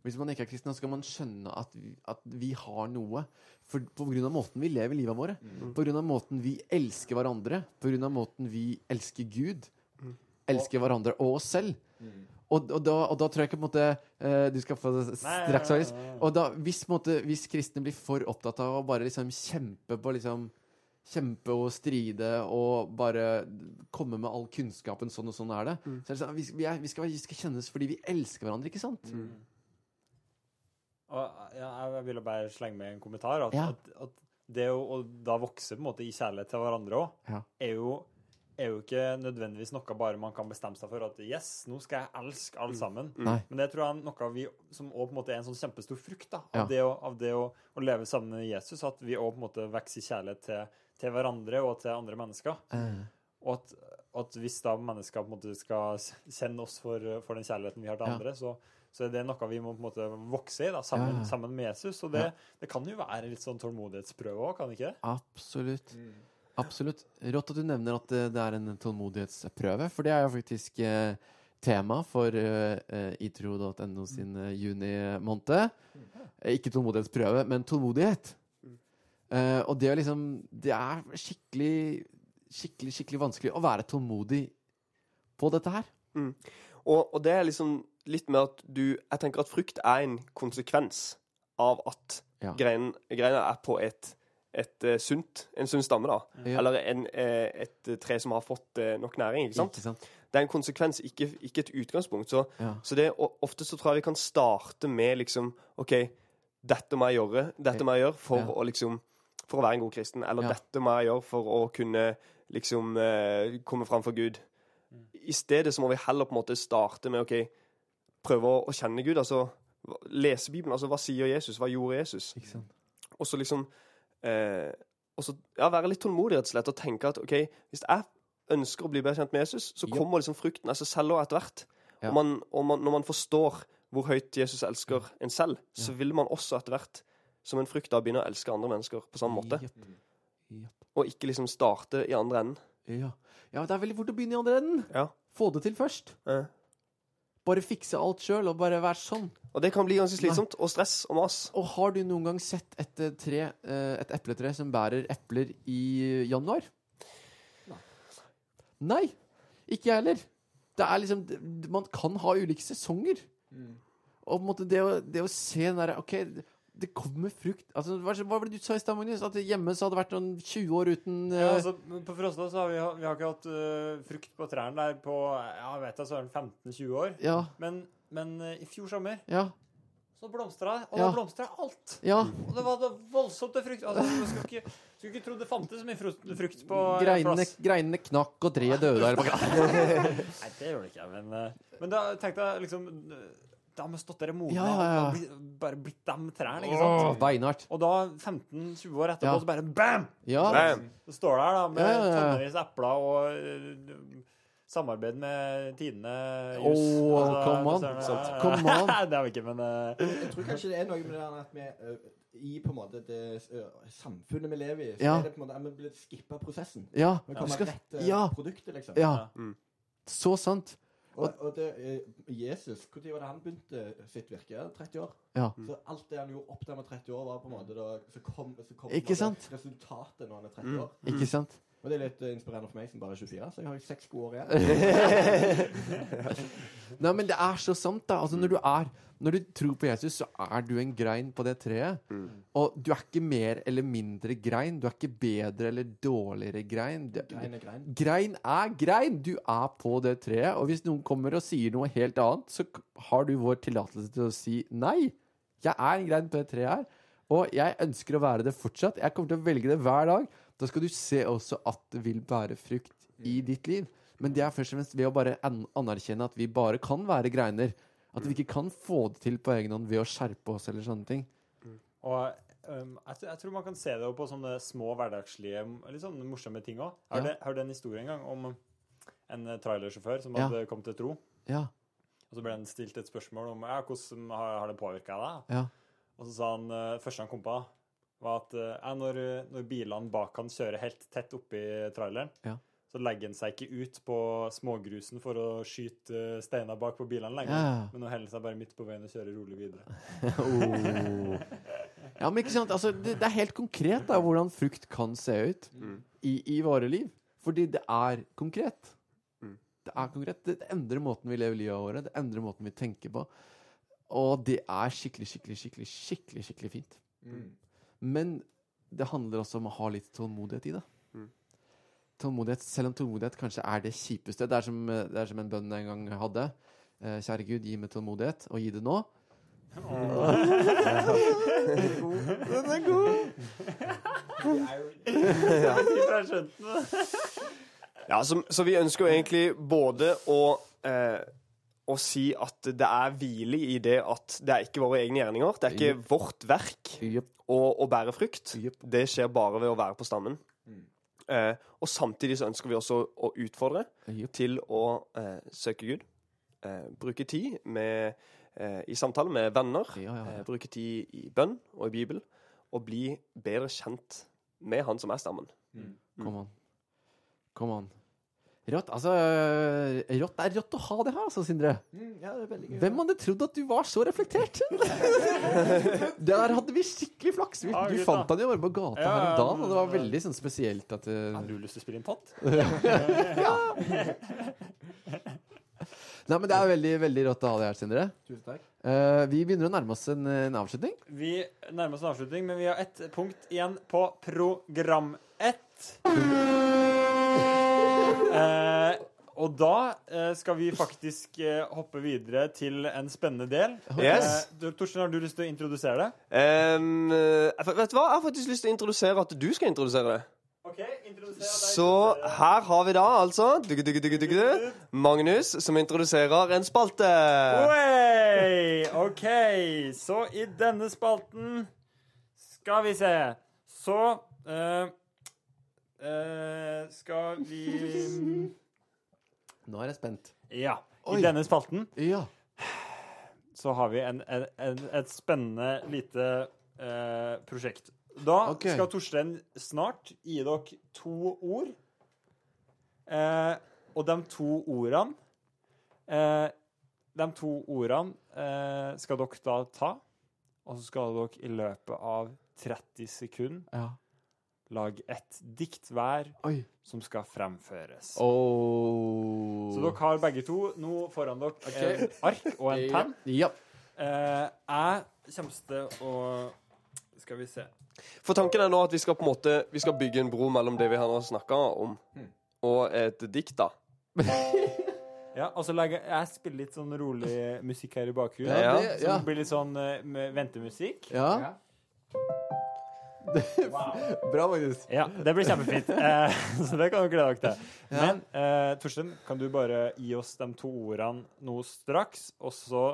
Speaker 4: hvis man ikke er kristen, så skal man skjønne at vi, at vi har noe. For, på grunn av måten vi lever livet våre.
Speaker 3: Mm.
Speaker 4: På grunn av måten vi elsker hverandre. På grunn av måten vi elsker Gud.
Speaker 3: Mm.
Speaker 4: Elsker hverandre og oss selv. Og, og, da, og da tror jeg ikke på en måte eh, Du skal få det
Speaker 3: Nei,
Speaker 4: straks,
Speaker 3: nei,
Speaker 4: Agnes.
Speaker 3: nei, nei.
Speaker 4: Og da, hvis, på en måte, hvis kristne blir for opptatt av å bare liksom kjempe på liksom Kjempe og stride og bare komme med all kunnskapen. Sånn og sånn er det.
Speaker 3: Mm.
Speaker 4: Så er det sånn, vi, vi, er, vi, skal, vi skal kjennes fordi vi elsker hverandre, ikke sant?
Speaker 3: Mm. Og, ja, jeg ville bare slenge med en kommentar. At,
Speaker 4: Ja.
Speaker 3: at, at det å, å da vokse på en måte i kjærlighet til hverandre òg,
Speaker 4: Ja.
Speaker 3: er, jo, er jo ikke nødvendigvis noe bare man kan bestemme seg for at yes, nå skal jeg elske
Speaker 4: Mm.
Speaker 3: alle sammen.
Speaker 4: Nei.
Speaker 3: Men det tror jeg er noe vi, som også på en måte er en sånn kjempestor frukt da, av
Speaker 4: Ja.
Speaker 3: det, å, av det å, å leve sammen med Jesus, at vi også på en måte vokser i kjærlighet til, til hverandre og til andre mennesker. Og at, at hvis da mennesker på en måte skal kjenne oss for, for den kjærligheten vi har til
Speaker 4: Ja.
Speaker 3: andre, så, så er det noe vi må på en måte vokse i da, sammen,
Speaker 4: Ja, ja.
Speaker 3: sammen med Jesus. Og det, det kan jo være litt sånn tålmodighetsprøve òg, kan det ikke? det?
Speaker 4: Absolutt. Absolutt. Rått at du nevner at eh, det er en tålmodighetsprøve, for det er jo faktisk eh, tema for eh, eh, itro.no sin eh, juni-måned. Eh, Ikke tålmodighetsprøve, men tålmodighet. Eh, og det er liksom Det er skikkelig, skikkelig, skikkelig vanskelig å være tålmodig på dette her.
Speaker 2: Og, og det er liksom litt med at du Jeg tenker at frukt er en konsekvens av at
Speaker 4: Ja.
Speaker 2: grein, greina er på et, et eh, sunt, en sunn stamme, da.
Speaker 4: Mm. Ja.
Speaker 2: Eller en, eh, et tre som har fått eh, nok næring. ikke sant?
Speaker 4: Ikke sant?
Speaker 2: Det er en konsekvens, ikke, ikke et utgangspunkt. Så,
Speaker 4: Ja.
Speaker 2: så det, og ofte så tror jeg vi kan starte med liksom OK, dette må jeg gjøre. Dette må jeg gjøre for
Speaker 4: Ja.
Speaker 2: å liksom For å være en god kristen. Eller
Speaker 4: Ja.
Speaker 2: dette må jeg gjøre for å kunne liksom eh, komme fram for Gud.
Speaker 4: Mm.
Speaker 2: I stedet så må vi heller på en måte starte med OK, prøve å, å kjenne Gud. Altså hva- lese Bibelen. Altså hva sier Jesus? Hva gjorde Jesus?
Speaker 4: Ikke sant?
Speaker 2: Og så liksom eh, og så, ja, Være litt tålmodig rett og slett og tenke at OK, hvis jeg ønsker å bli bedre kjent med Jesus, så
Speaker 4: Ja.
Speaker 2: kommer liksom frukten av seg selv og etter hvert.
Speaker 4: Ja.
Speaker 2: Og, man, og man, når man forstår hvor høyt Jesus elsker en selv, så vil man også etter hvert, som en frukt, da begynne å elske andre mennesker på samme måte.
Speaker 4: Jepp. Jepp.
Speaker 2: Og ikke liksom starte i andre enden.
Speaker 4: Ja. ja, det er veldig fort å begynne i andre enden.
Speaker 2: Ja.
Speaker 4: Få det til først.
Speaker 2: Eh.
Speaker 4: Bare fikse alt sjøl, og bare være sånn.
Speaker 2: Og det kan bli ganske slitsomt. Og stress og mas.
Speaker 4: Og har du noen gang sett et, eh, tre, eh, et epletre som bærer epler i januar? Nei. Ikke jeg heller. Det er liksom
Speaker 3: Mm.
Speaker 4: d- Man kan ha ulike sesonger. Og på en måte det å, det å se den derre OK, det kommer frukt altså, hva, hva var det du sa i stad, Magnus? At hjemme så hadde det vært noen 20 år uten
Speaker 3: Ja,
Speaker 4: eh,
Speaker 3: altså, på Frosta så har vi, vi har ikke hatt eh, frukt på trærne der på ja, jeg vet da, søren 15-20 år.
Speaker 4: ja,
Speaker 3: Men, men eh, i fjor sommer
Speaker 4: ja,
Speaker 3: så blomstra det, og
Speaker 4: Ja.
Speaker 3: da blomstra alt.
Speaker 4: ja.
Speaker 3: Og det var da voldsomt til frukt. Altså, du skulle ikke, skulle ikke tro det fantes så mye frukt, frukt på en
Speaker 4: Greinene,
Speaker 3: plass.
Speaker 4: greinene knakk, og treet døde. her på gangen.
Speaker 3: Nei, det gjør det ikke, men eh, Men da tenkte jeg liksom Da har vi stått der i modne
Speaker 4: Ja, ja, ja.
Speaker 3: og bli- bare blitt de trærne, ikke sant?
Speaker 4: Åh, Beinhardt.
Speaker 3: Og da, 15-20 år etterpå,
Speaker 4: Ja.
Speaker 3: så bare bam!
Speaker 4: Ja.
Speaker 2: Bam.
Speaker 3: Så står der da med
Speaker 4: Ja, ja, ja.
Speaker 3: tonnevis av epler og eh, samarbeid med Tidene altså,
Speaker 4: Åh, come on. Come on.
Speaker 3: det har vi ikke, men eh,
Speaker 5: Jeg tror kanskje det er noe med det der at vi eh, i på en måte det eh, samfunnet vi lever i, så
Speaker 4: Ja.
Speaker 5: er det på en måte at vi blir skippa prosessen.
Speaker 4: Ja.
Speaker 5: Vi
Speaker 4: Du
Speaker 5: kommer
Speaker 4: skal,
Speaker 5: rett til
Speaker 4: ja.
Speaker 5: produktet, liksom.
Speaker 4: ja.
Speaker 2: Mm.
Speaker 4: Så sant.
Speaker 5: Og, og det, eh, Jesus, når var det han begynte sitt virke? 30 år?
Speaker 4: Ja.
Speaker 5: Så alt det han gjorde opp til han var 30 år, var på en måte da, så kom, så kom
Speaker 4: Ikke
Speaker 5: på en
Speaker 4: sant?
Speaker 5: måte resultatet når han er 30 år.
Speaker 3: Mm.
Speaker 4: Ikke sant?
Speaker 5: Og det er litt eh, inspirerende for meg som bare er 24, så jeg har jo seks gode år igjen.
Speaker 4: Nei, men det er så sant, da. Altså, når, du er, når du tror på Jesus, så er du en grein på det treet. Og du er ikke mer eller mindre grein. Du er ikke bedre eller dårligere grein. Det,
Speaker 5: Grein er grein.
Speaker 4: grein er grein! Du er på det treet. Og hvis noen kommer og sier noe helt annet, så k- har du vår tillatelse til å si nei. Jeg er en grein på det treet her. Og jeg ønsker å være det fortsatt. Jeg kommer til å velge det hver dag. Da skal du se også at det vil bære frukt i ditt liv. Men det er først og fremst ved å bare an anerkjenne at vi bare kan være greiner. At vi ikke kan få det til på egen hånd ved å skjerpe oss eller sånne ting.
Speaker 3: Og um, jeg, tror- jeg tror man kan se det jo på sånne små hverdagslige, litt sånn morsomme ting òg.
Speaker 4: Ja.
Speaker 3: Jeg hørte en historie en gang om en eh, trailersjåfør som
Speaker 4: Ja.
Speaker 3: hadde kommet til tro.
Speaker 4: Ja.
Speaker 3: Og så ble han stilt et spørsmål om ja, hvordan har, har det påvirka deg.
Speaker 4: Ja.
Speaker 3: Og så sa han eh, første han kom på, var at eh, ja, når, når bilene bak han kjører helt tett oppi traileren,
Speaker 4: Ja.
Speaker 3: så legger han seg ikke ut på smågrusen for å skyte eh, steiner bak på bilene lenger.
Speaker 4: Ja.
Speaker 3: Men nå holder han seg bare midt på veien og kjører rolig videre.
Speaker 4: Oh. Ja, men ikke sant? Altså, det, det er helt konkret da, hvordan frukt kan se ut i, i våre liv. Fordi det er konkret.
Speaker 2: Mm.
Speaker 4: Det er konkret. Det, det endrer måten vi lever livet vårt Det endrer måten vi tenker på. Og det er skikkelig, skikkelig, skikkelig, skikkelig, skikkelig fint.
Speaker 5: Mm.
Speaker 4: Men det handler også om å ha litt tålmodighet i det.
Speaker 2: Mm.
Speaker 4: Tålmodighet, Selv om tålmodighet kanskje er det kjipeste. Det er som, det er som en bønn jeg en gang hadde. Eh, Kjære Gud, gi meg tålmodighet, og gi det nå. Den er god!
Speaker 2: Ja, så, så vi ønsker jo egentlig både å eh, å si at det er hvile i det at det er ikke våre egne gjerninger. Det er ikke vårt verk
Speaker 4: Jepp.
Speaker 2: å, å bære frukt.
Speaker 4: Jepp.
Speaker 2: Det skjer bare ved å være på stammen.
Speaker 5: Mm.
Speaker 2: Eh, og samtidig så ønsker vi også å utfordre
Speaker 4: Jepp.
Speaker 2: til å eh, søke Gud. Eh, bruke tid med, eh, i samtale med venner.
Speaker 4: Ja, ja, ja.
Speaker 2: Eh, bruke tid i bønn og i Bibelen. Og bli bedre kjent med han som er stammen.
Speaker 3: Mm.
Speaker 4: Kom an. Kom an. Rått. Altså, øh, rått det er rått å ha det her, altså, Sindre.
Speaker 5: Mm, ja, det er veldig gøy.
Speaker 4: Hvem hadde trodd at du var så reflektert? Der hadde vi skikkelig flaks. Vi,
Speaker 3: Ja,
Speaker 4: du
Speaker 3: gutta.
Speaker 4: fant han jo bare på gata
Speaker 3: Ja,
Speaker 4: her om
Speaker 3: ja,
Speaker 4: dagen, og det var
Speaker 3: men-
Speaker 4: veldig sånn spesielt at øh,
Speaker 3: Har du lyst til å spille inn pott?
Speaker 4: Nei, men det er veldig, veldig rått å ha det her, Sindre.
Speaker 5: Tusen takk.
Speaker 4: Eh, vi begynner å nærme oss en, en avslutning.
Speaker 3: Vi nærmer oss en avslutning, men vi har ett punkt igjen på program ett. Eh, og da eh, skal vi faktisk eh, hoppe videre til en spennende del.
Speaker 2: Yes.
Speaker 3: Eh, Tor- Torstein, har du lyst til å introdusere det?
Speaker 2: Ehm, eh, vet du hva? Jeg har faktisk lyst til å introdusere at du skal introdusere det.
Speaker 3: Ok, introdusere
Speaker 2: Så her har vi da altså dugge, dugge, dugge, dugge, dugge, Magnus som introduserer en spalte.
Speaker 3: Oi! OK, så i denne spalten skal vi se Så eh, eh, skal vi
Speaker 4: Nå er jeg spent.
Speaker 3: Ja.
Speaker 4: Oi.
Speaker 3: I denne spalten
Speaker 4: Ja.
Speaker 3: så har vi en, en, en, et spennende lite eh, prosjekt. Da
Speaker 4: Ok.
Speaker 3: skal Torstein snart gi dere to ord. Eh, og de to ordene eh, De to ordene eh, skal dere da ta, og så skal dere i løpet av 30 sekunder
Speaker 4: ja.
Speaker 3: lage et dikt hver
Speaker 4: Oi.
Speaker 3: som skal fremføres.
Speaker 4: Oh.
Speaker 3: Så dere har begge to nå foran dere et ark og en penn.
Speaker 4: Ja.
Speaker 3: Eh, jeg kommer til å
Speaker 6: Skal vi se.
Speaker 2: For tanken er nå at vi skal på en måte Vi skal bygge en bro mellom det vi her nå snakker om, og et dikt, da.
Speaker 3: Ja, og så lager jeg spiller litt sånn rolig musikk her i bakgrunnen.
Speaker 4: Ja,
Speaker 2: Ja,
Speaker 4: det,
Speaker 3: Som
Speaker 4: ja.
Speaker 3: blir litt sånn eh, med ventemusikk.
Speaker 4: ja. Bra, Magnus.
Speaker 3: Ja, det blir kjempefint. Eh, så det kan du glede deg til. Men eh, Torstein, kan du bare gi oss de to ordene nå straks, og så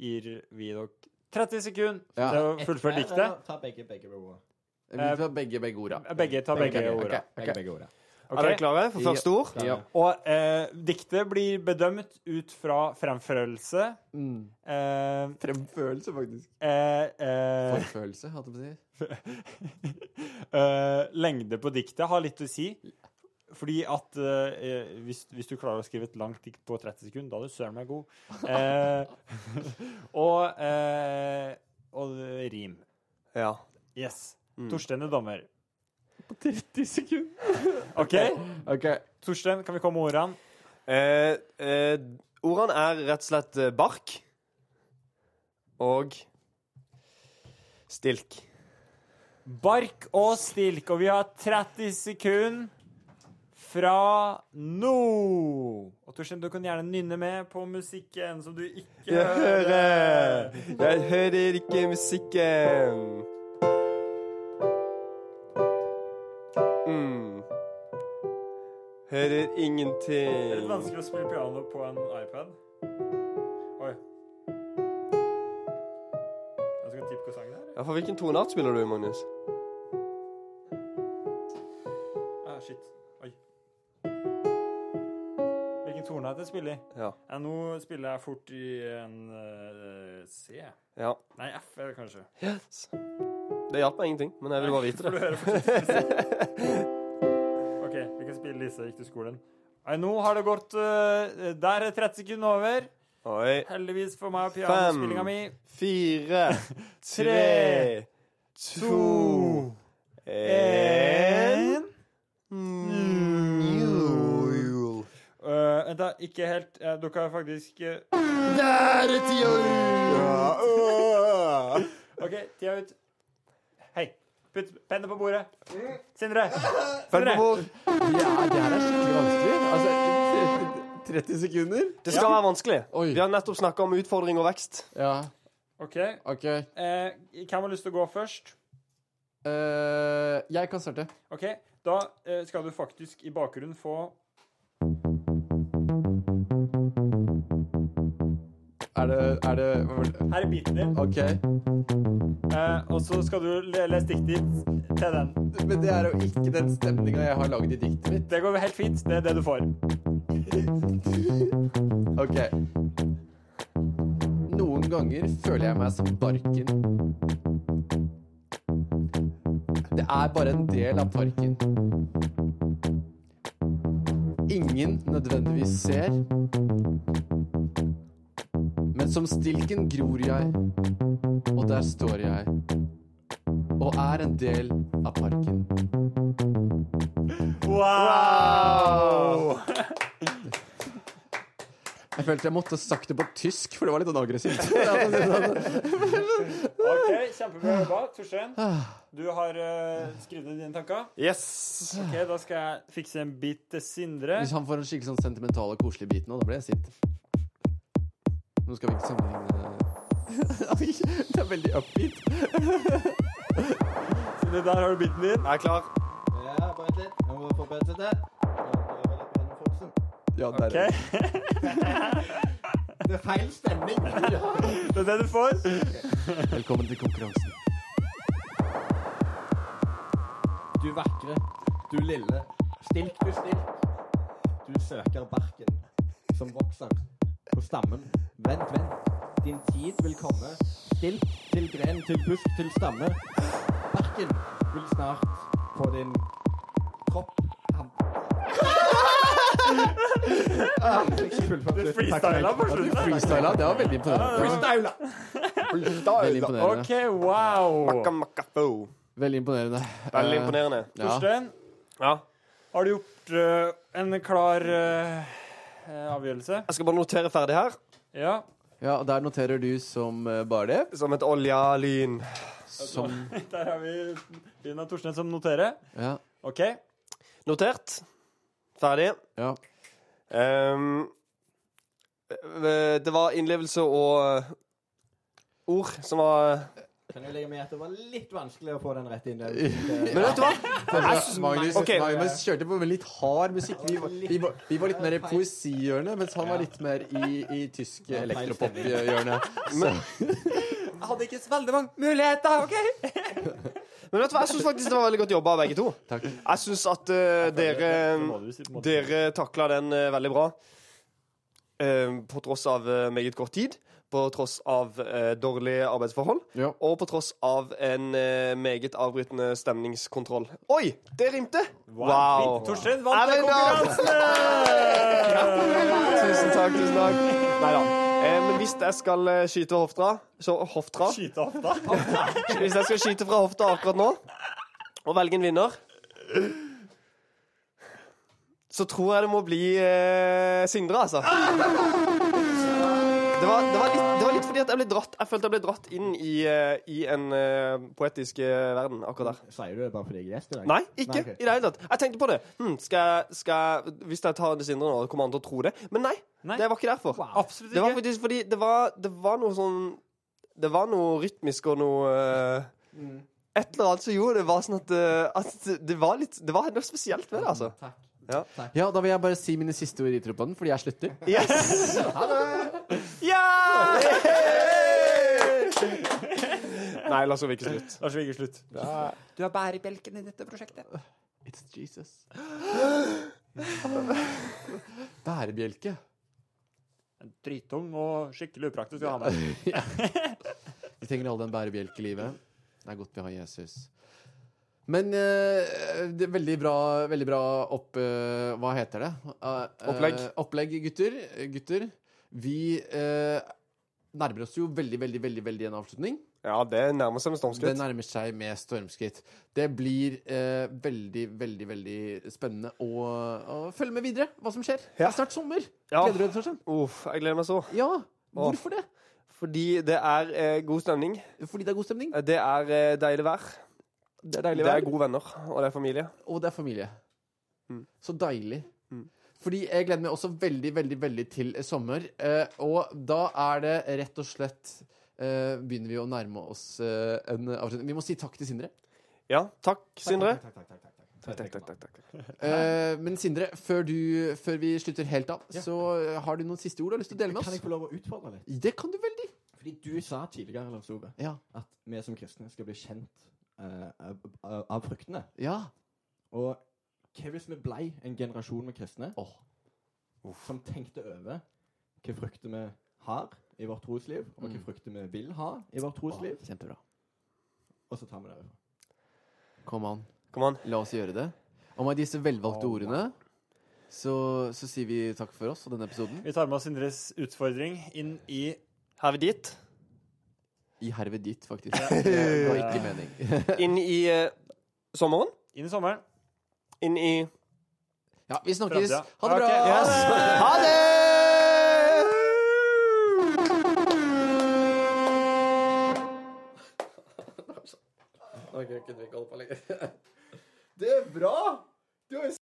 Speaker 3: gir vi dere 30 sekunder
Speaker 4: Ja.
Speaker 3: til å fullføre diktet.
Speaker 5: Ta begge, begge ordene.
Speaker 4: Vi tar begge, begge orda.
Speaker 3: Begge eh, tar begge
Speaker 4: Ok,
Speaker 3: ordene.
Speaker 4: ok,
Speaker 5: Begge,
Speaker 4: ok.
Speaker 5: begge ordene.
Speaker 3: Ok?
Speaker 2: Er dere klare for første ord?
Speaker 4: Ja.
Speaker 3: Og eh, diktet blir bedømt ut fra fremførelse.
Speaker 4: Mm.
Speaker 3: Eh,
Speaker 4: Fremførelse, faktisk.
Speaker 3: eh, eh,
Speaker 4: Forfølelse, hadde jeg på å si.
Speaker 3: eh, lengde på diktet har litt å si. Fordi at eh, hvis, hvis du klarer å skrive et langt dikt på 30 sekunder, da er du søren meg god. Eh, og, eh, og rim.
Speaker 2: Ja.
Speaker 3: Yes.
Speaker 2: Mm.
Speaker 3: Torstein er dommer.
Speaker 4: På 30 sekunder.
Speaker 3: OK?
Speaker 4: OK.
Speaker 3: Torstein, kan vi komme med ordene?
Speaker 2: Eh, eh, ordene er rett og slett eh, bark og stilk.
Speaker 3: Bark og stilk, og vi har 30 sekunder fra nå. Og Torstein, du kan gjerne nynne med på musikken som du ikke
Speaker 2: Jeg hører, jeg hører ikke musikken. Mm. Hører
Speaker 3: Det er litt
Speaker 2: ingenting.
Speaker 3: vanskelig å spille piano på en iPad. Oi. Jeg skal tippe hva sangen er. eller?
Speaker 2: Ja, for hvilken toneart spiller du, Magnus?
Speaker 3: Ah, shit. Oi. Hvilken toneart jeg spiller i?
Speaker 2: Ja.
Speaker 3: Ja, nå spiller jeg fort i en eh, C.
Speaker 2: ja.
Speaker 3: Nei, F er det kanskje.
Speaker 2: Yes. Det hjalp meg ingenting, men jeg ville bare vite
Speaker 3: For du
Speaker 2: det.
Speaker 3: hører fortsatt. OK, vi kan spille Lise gikk til skolen. Nei, nå har det gått eh, Der er 30 sekunder over.
Speaker 2: Oi.
Speaker 3: Heldigvis for meg og pianospillinga mi.
Speaker 2: Fire,
Speaker 3: Tre,
Speaker 2: tre, to, en Mm. Jul.
Speaker 3: Øh, Vent, da. Ikke helt. Eh, dere har faktisk eh,
Speaker 4: Der er tida
Speaker 3: OK, tida er ut. Hei. Putt pennen på bordet. Sindre.
Speaker 2: Følg med bord.
Speaker 4: Ja, det her er skikkelig vanskelig. Altså, 30 sekunder?
Speaker 2: Det skal være vanskelig.
Speaker 4: Oi.
Speaker 2: Vi har nettopp snakka om utfordring og vekst.
Speaker 4: Ja,
Speaker 3: OK.
Speaker 4: OK.
Speaker 3: Eh, hvem har lyst til å gå først?
Speaker 4: Eh, jeg kan starte.
Speaker 3: OK, da eh, skal du faktisk i bakgrunnen få
Speaker 4: Er det, er det
Speaker 3: Her er beaten din.
Speaker 4: OK.
Speaker 3: Eh, og så skal du le lese diktet ditt til den.
Speaker 4: Men det er jo ikke den stemninga jeg har lagd i diktet mitt.
Speaker 3: Det går helt fint. Det er det du får.
Speaker 4: OK. Noen ganger føler jeg meg som barken. Det er bare en del av parken. Ingen nødvendigvis ser. Men som stilken gror jeg, og der står jeg. Og er en del av parken.
Speaker 3: Wow!
Speaker 4: Jeg følte jeg måtte sagt det på tysk, for det var litt sånn aggressivt.
Speaker 3: OK, kjempebra jobba. Torstein, du har eh, skrevet ned dine tanker.
Speaker 2: Yes.
Speaker 3: OK, da skal jeg fikse en bit til Sindre.
Speaker 4: Hvis han får en skikkelig sånn sentimental og koselig bit nå, da blir jeg sint. Nå skal vi ikke sammenligne Oi, Det er veldig upbeat.
Speaker 3: Sindre, der har du biten din.
Speaker 2: Jeg er klar.
Speaker 5: Ja, bare vent litt. Jeg må forberede seg til. Ja, det er
Speaker 4: Ja,
Speaker 5: vel at Bjørn Folsen.
Speaker 4: der er
Speaker 3: OK,
Speaker 4: det.
Speaker 5: Det er feil stemning.
Speaker 3: det er det du får.
Speaker 4: Velkommen til konkurransen.
Speaker 5: Du vakre, du lille. Stilk, du stilk. Du søker barken som vokser på stammen. Vent, vent. Din tid vil komme. Stilk til gren, til busk, til stamme. Barken vil snart på din kropp. Han... Ah,
Speaker 3: Du freestyla på slutten.
Speaker 4: Freestyla, det var veldig imponerende.
Speaker 5: Freestyla!
Speaker 4: Veldig imponerende.
Speaker 3: OK, wow.
Speaker 2: Makka, makka, bo.
Speaker 4: Veldig imponerende.
Speaker 2: Veldig
Speaker 4: Eh,
Speaker 2: imponerende.
Speaker 4: Ja.
Speaker 3: Torstein,
Speaker 2: Ja.
Speaker 3: har du gjort eh, en klar eh, eh, avgjørelse?
Speaker 2: Jeg skal bare notere ferdig her.
Speaker 3: Ja.
Speaker 4: Ja, og der noterer du som eh, bare det.
Speaker 2: Som et olja lyn.
Speaker 4: Som
Speaker 3: Der har vi Lina Thorsnes som noterer.
Speaker 4: Ja.
Speaker 3: OK.
Speaker 2: Notert. Ferdig.
Speaker 4: ja.
Speaker 2: Ehm, det var innlevelse og eh, ord som var
Speaker 5: Kan jeg legge med at det var litt vanskelig å få den rette innlevelsen?
Speaker 2: Men vet du hva?
Speaker 4: Magnus,
Speaker 2: Ok.
Speaker 4: Magnus kjørte på med litt hard musikk. Vi var, vi var, vi var litt mer i poesihjørnet, mens han var litt mer i, i tysk elektropop-hjørnet. Så-
Speaker 3: Jeg hadde ikke så veldig mange muligheter, OK?
Speaker 2: Men vet du hva, jeg syns faktisk det var veldig godt jobba av begge to.
Speaker 4: Takk.
Speaker 2: Jeg syns at eh, dere Dere takla den eh, veldig bra. Eh, på tross av eh, meget kort tid, på tross av eh, dårlige arbeidsforhold
Speaker 4: Ja.
Speaker 2: og på tross av en eh, meget avbrytende stemningskontroll. Oi, det rimte! Wow.
Speaker 3: Torstein
Speaker 2: Er
Speaker 3: vant
Speaker 2: det en
Speaker 3: den konkurransen!
Speaker 2: Tusen takk. tusen takk Neida. Eh, men hvis jeg skal eh, skyte hofta, så, hoftra
Speaker 3: Skyte opp, da.
Speaker 2: Hvis jeg skal skyte fra hofta akkurat nå og velge en vinner så tror jeg det må bli eh, Sindre, altså. Det var, det, var litt, det var litt fordi at jeg ble dratt Jeg følte jeg ble dratt inn i, eh, i en eh, poetisk eh, verden akkurat der.
Speaker 5: Sier du det bare fordi jeg er gjest i dag?
Speaker 2: Nei, ikke
Speaker 5: Nei, ok.
Speaker 2: i det hele tatt. Jeg tenkte på det. Hm, skal jeg, skal jeg, hvis jeg tar det Sindre nå, kommer han til å tro det? Men nei,
Speaker 3: Nei.
Speaker 2: det var ikke derfor.
Speaker 3: Absolutt
Speaker 2: Det var
Speaker 3: ikke.
Speaker 2: faktisk fordi det var, det var noe sånn Det var noe rytmisk og noe eh,
Speaker 4: Mm.
Speaker 2: Et eller annet som gjorde det var sånn at, eh, at det var litt Det var noe spesielt ved det, altså.
Speaker 5: Takk.
Speaker 4: ja, da vil jeg bare si mine siste ord i troppen, fordi jeg slutter.
Speaker 2: Yes!
Speaker 3: Ja!
Speaker 2: Nei, la oss ikke slutte.
Speaker 3: Lars Vigge, slutt. Du er bærebjelken i dette prosjektet.
Speaker 4: It's Jesus. Bærebjelke.
Speaker 3: Dritung og skikkelig upraktisk å ha med.
Speaker 4: Vi trenger alle en bærebjelke i livet. Det er godt vi har Jesus. Men eh, det er veldig bra, veldig bra opp... eh, hva heter det? Eh, eh,
Speaker 2: Opplegg.
Speaker 4: opplegg, gutter. Eh, gutter. Vi eh, nærmer oss jo veldig, veldig, veldig, veldig en avslutning.
Speaker 2: Ja, det nærmer seg med
Speaker 4: Det
Speaker 2: stormskritt.
Speaker 4: nærmer seg med stormskritt. Det blir eh, veldig, veldig veldig spennende å, å følge med videre hva som skjer. Det
Speaker 2: Ja.
Speaker 4: er snart sommer.
Speaker 2: Ja.
Speaker 4: Gleder du deg, Torstein?
Speaker 2: Uff, jeg gleder meg så.
Speaker 4: Ja. Hvorfor det?
Speaker 2: Fordi det er eh, god stemning.
Speaker 4: Fordi det er god stemning,
Speaker 2: Det er eh, deilig vær.
Speaker 4: det er deilig
Speaker 2: Det
Speaker 4: vær,
Speaker 2: er gode venner, og det er familie.
Speaker 4: og det er familie.
Speaker 2: Mm.
Speaker 4: Så deilig.
Speaker 2: Mm.
Speaker 4: Fordi jeg gleder meg også veldig, veldig veldig til eh, sommer. Eh, og da er det rett og slett eh, Begynner vi å nærme oss eh, en avslutning. Vi må si takk til Sindre.
Speaker 2: Ja, takk, Sindre.
Speaker 5: Takk, takk, takk, takk, takk.
Speaker 2: Takk, takk, takk, takk.
Speaker 4: Eh, men Sindre, før, du, før vi slutter helt av,
Speaker 5: Ja.
Speaker 4: så eh, har du noen siste ord du har lyst til å dele med
Speaker 5: Kan
Speaker 4: oss?
Speaker 5: jeg få lov å utfordre litt?
Speaker 4: Det kan du veldig.
Speaker 5: Fordi du sa tidligere, Lars Ove,
Speaker 4: Ja.
Speaker 5: at vi som kristne skal bli kjent eh, av, av- av fruktene.
Speaker 4: Ja.
Speaker 5: Og hva hvis vi blei en generasjon med kristne
Speaker 4: Åh.
Speaker 5: som tenkte over hva frukter vi har i vårt trosliv, og hva
Speaker 4: Mm.
Speaker 5: frukter vi vil ha i vårt trosliv,
Speaker 4: Kjempebra.
Speaker 5: og så tar vi det over.
Speaker 4: Kom an,
Speaker 2: Kom an.
Speaker 4: la oss gjøre det. Og med disse velvalgte
Speaker 3: Oh,
Speaker 4: ordene så, så sier vi takk for oss og denne episoden.
Speaker 3: Vi tar med oss Sindres utfordring inn i
Speaker 2: Herved dit.
Speaker 4: I herved ditt, faktisk. Det var ikke mening.
Speaker 2: Inn i eh, sommeren.
Speaker 3: Inn i sommeren.
Speaker 2: Inn i
Speaker 4: Ja, vi snakkes.
Speaker 3: Framtida.
Speaker 4: Ha det bra.
Speaker 3: Ok, yes.
Speaker 2: Ha det!
Speaker 4: Det er bra!